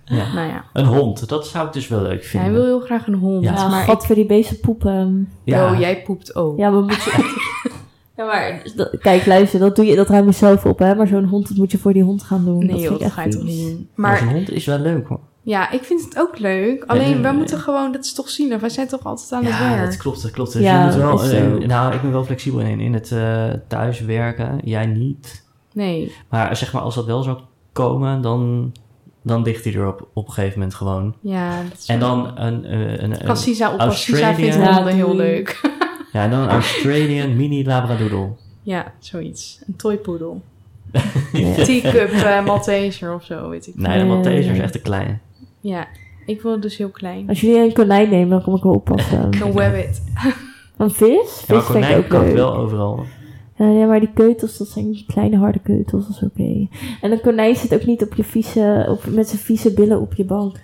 B: nou ja.
A: Een hond, dat zou ik dus wel leuk
B: Hij
A: vinden.
B: wil heel graag een hond.
A: Ja.
C: Ja,
B: maar
C: maar voor die beesten poepen.
B: ik,
A: ja.
B: oh, jij poept ook.
C: Ja, we moeten. ja, maar dat- kijk, luister, dat, doe je, dat ruim je zelf op, hè? Maar zo'n hond, dat moet je voor die hond gaan doen.
B: nee
C: vind
B: joh,
C: ik
B: dat
C: echt
B: ga je toch
C: vies.
B: niet doen.
A: Maar een
B: Maar
A: hond is wel leuk hoor.
B: ja, ik vind het ook leuk. Alleen,
A: nee,
B: we
A: nee.
B: moeten gewoon, dat is toch zielig. Wij zijn toch altijd aan het
A: Ja,
B: werk.
A: dat klopt, dat klopt. Dus
C: Ja,
A: je moet wel,
C: is zo.
A: eh, nou, ik ben wel flexibel in, in het eh thuiswerken. Jij niet.
B: Nee.
A: Maar zeg maar, als dat wel zou komen, dan, dan ligt hij er op, op een gegeven moment gewoon.
B: Ja, dat is
A: En
B: wel-
A: dan een, eh, een, een,
B: Cassisa op Cassisa
A: Australië.
B: vindt
C: Ja,
B: honden heel
C: doei.
B: leuk.
A: ja, en dan een Australian mini labradoodle.
B: Ja, zoiets. Een toypoedel.
C: Ja.
B: Teacup eh Malteser of zo, weet ik.
A: Nee, de
C: Nee.
A: Malteser is echt te klein.
B: Ja, ik wil dus heel klein.
C: Als jullie een konijn nemen, dan kom ik wel oppassen.
B: Een wabbit.
C: Een vis?
A: Ja, maar
C: Vis vind ik
A: Nou, konijn
C: ook
A: kan het
C: leuk.
A: wel overal.
C: Ja, nee, maar die keutels, dat zijn die kleine harde keutels, dat is oké. En een konijn zit ook niet op je vieze, op, met zijn vieze billen op je bank.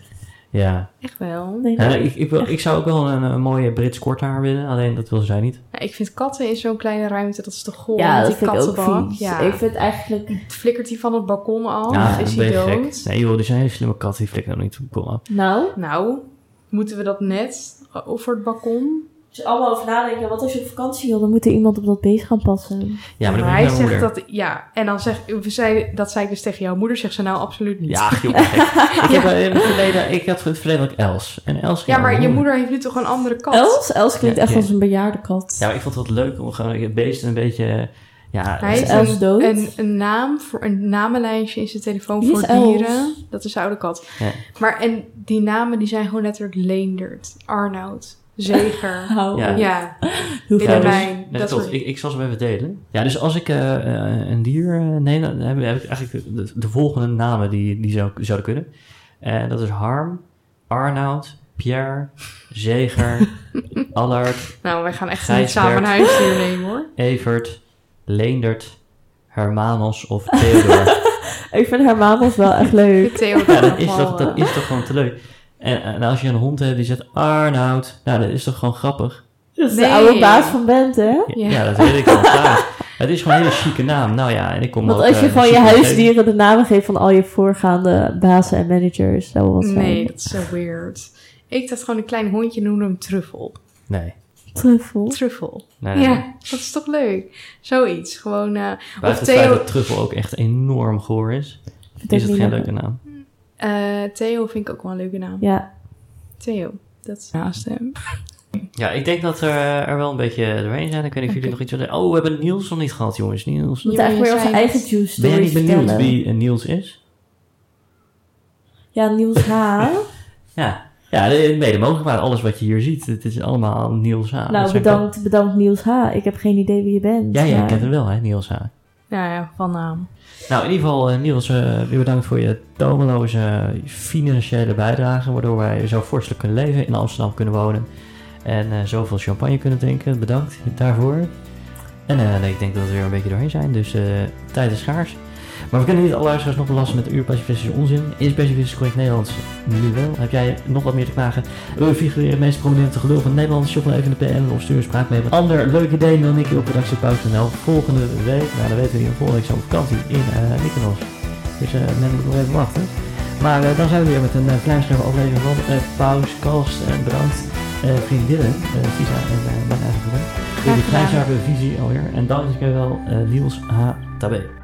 A: Ja.
B: Echt wel.
C: Nee,
A: Ja,
C: nee.
A: ik, ik, wil, ik zou ook wel een, een mooie Brits korthaar willen, alleen dat wil zij niet.
B: Nou, ik vind katten in zo'n kleine ruimte, dat is toch goor.
C: ja,
B: met
C: dat
B: die
C: vind ik ook
B: kattenbak.
C: vies.
B: Ja.
C: Ik vind eigenlijk...
B: Flikkert hij van het balkon af?
A: Ja,
B: Oh, is
A: ben
B: hij
A: je
B: dood?
A: gek. Nee joh, die zijn hele slimme katten, die flikken ook niet op kom af.
C: Nou?
B: Nou, moeten we dat net over het balkon?
C: Als je allemaal over nadenken, want als je op vakantie wil, dan moet er iemand op dat beest gaan passen.
A: Ja, maar dan ben
B: hij
A: ik mijn
B: zegt
A: moeder.
B: dat... Ja, en dan zeg we zei, dat zei ik dus tegen jouw moeder, zegt ze nou absoluut niet.
A: Ja, joh. gek. ik, heb, eh, in het verleden, ik had in het verleden ook Els. En Els ging
B: Ja, maar
A: naar
B: je
A: mijn
B: moeder heeft nu toch een andere kat?
A: Oh.
C: Els? Els klinkt
A: Ja,
C: echt
A: ja.
C: als een bejaarde kat.
A: Ja, maar ik vond het leuk om gewoon het beest een beetje... Ja,
B: Hij
C: Is
B: heeft
C: Els
B: een,
C: dood?
B: Een, een naam voor een namenlijstje in zijn telefoon
C: Wie
B: voor
C: is Els?
B: dieren. Dat is de oude kat.
A: Ja.
B: Maar en die namen die zijn gewoon letterlijk Leendert, Arnoud, Zeger.
C: Hou.
A: Ja.
B: ja,
C: Heel
A: Ja, dus,
B: Willemijn.
C: fijn.
B: mijn-
A: nee,
B: dat
A: klopt.
B: soort-
A: Ik, ik zal ze hem even delen. Ja, dus als ik eh, eh, een dier eh, neem, dan heb, heb ik eigenlijk de, de- de volgende namen die, die zou, zouden kunnen. Eh, dat is Harm, Arnoud, Pierre, Zeger, Allard,
B: nou wij gaan echt niet
A: Gijsbert.
B: samen een huisdier nemen hoor.
A: Evert, Leendert, Hermanos of Theodor.
C: Ik vind haar maandag wel echt
B: De
C: leuk.
B: Theodor
A: ja, dat is,
B: van
A: toch, dat
B: Wallen.
A: is toch gewoon te leuk. En, en als je een hond hebt die zegt Arnoud, nou dat is toch gewoon grappig.
C: Dat is
B: Nee.
C: Dus de oude baas van Bent, hè?
A: Ja,
B: eh, Ja.
A: dat weet ik wel. Klaar. Het is gewoon een hele chique naam. Nou ja, en ik kom
C: Want
A: ook,
C: als je
A: eh,
C: van je
A: super-
C: huisdieren de namen geeft van al je voorgaande bazen en managers, eh, zou wel wat zijn.
B: Nee, dat is zo weird. Ik dacht gewoon een klein hondje noemde hem Truffel.
A: Nee.
C: Truffel.
B: Truffel.
A: Nee, nee, nee.
B: Ja, dat is toch leuk? Zoiets. Gewoon. eh, of
A: Buiten het feit
B: Theo,
A: dat truffel ook echt enorm goor is,
C: Vind ik
A: is het
C: niet
A: geen
C: lekker.
A: leuke naam.
B: eh, Theo vind ik ook wel een leuke naam.
C: Ja,
B: Theo. Dat is naast hem.
A: Ja, ik denk dat er, er wel een beetje doorheen zijn. Ik weet niet of jullie nog iets willen zeggen. Oh, we hebben Niels nog niet gehad, jongens. Niels.
B: Ja,
C: we moeten
B: je
C: eigenlijk weer
B: zei
C: onze
B: het.
C: eigen juice
A: Ben jij
C: story
A: niet benieuwd
C: vertellen.
A: wie eh, Niels is?
C: Ja, Niels H.
A: Ah, Ja. Ja, de- mede mogelijk maar alles wat je hier ziet, het is allemaal Niels H. Dat
C: nou,
A: zijn
C: bedankt, bedankt Niels H. Ik heb geen idee wie je bent.
A: wel- Ja, jij
C: maar-
A: kent hem wel, hè, Niels H.
B: Nou ja, van naam.
A: Nou, in ieder geval, eh, Niels, eh, weer bedankt voor je tomeloze financiële bijdrage. Waardoor wij zo vorstelijk kunnen leven, in Amsterdam kunnen wonen. En eh, zoveel champagne kunnen drinken. Bedankt daarvoor. En eh, nee, ik denk dat we er weer een beetje doorheen zijn, dus eh, tijd is schaars. Maar we kunnen niet alle luisteraars nog belasten met uurpassivistische onzin. Is passivistisch correct Nederlands nu wel? Heb jij nog wat meer te klagen? Wil je figureren het meest prominente gelul van Nederland? Shop dan even in de PM of stuur een spraak mee. Met ander leuk idee mail Nicky op redactiepauw.nl. Volgende week, nou dan weten we niet, volgende week zijn we op vakantie in eh Mykonos. Dus eh men moet nog even wachten. Maar eh, dan zijn we weer met een uh, kleinschrijver aflevering van eh Paus, Kalst en Brand, eh vriendinnen, eh Visa en eh, mijn eigen vriendin. Jullie
B: gedaan.
A: kleinschrijver visie alweer. En dan is ik wel eh Niels H. Tabé.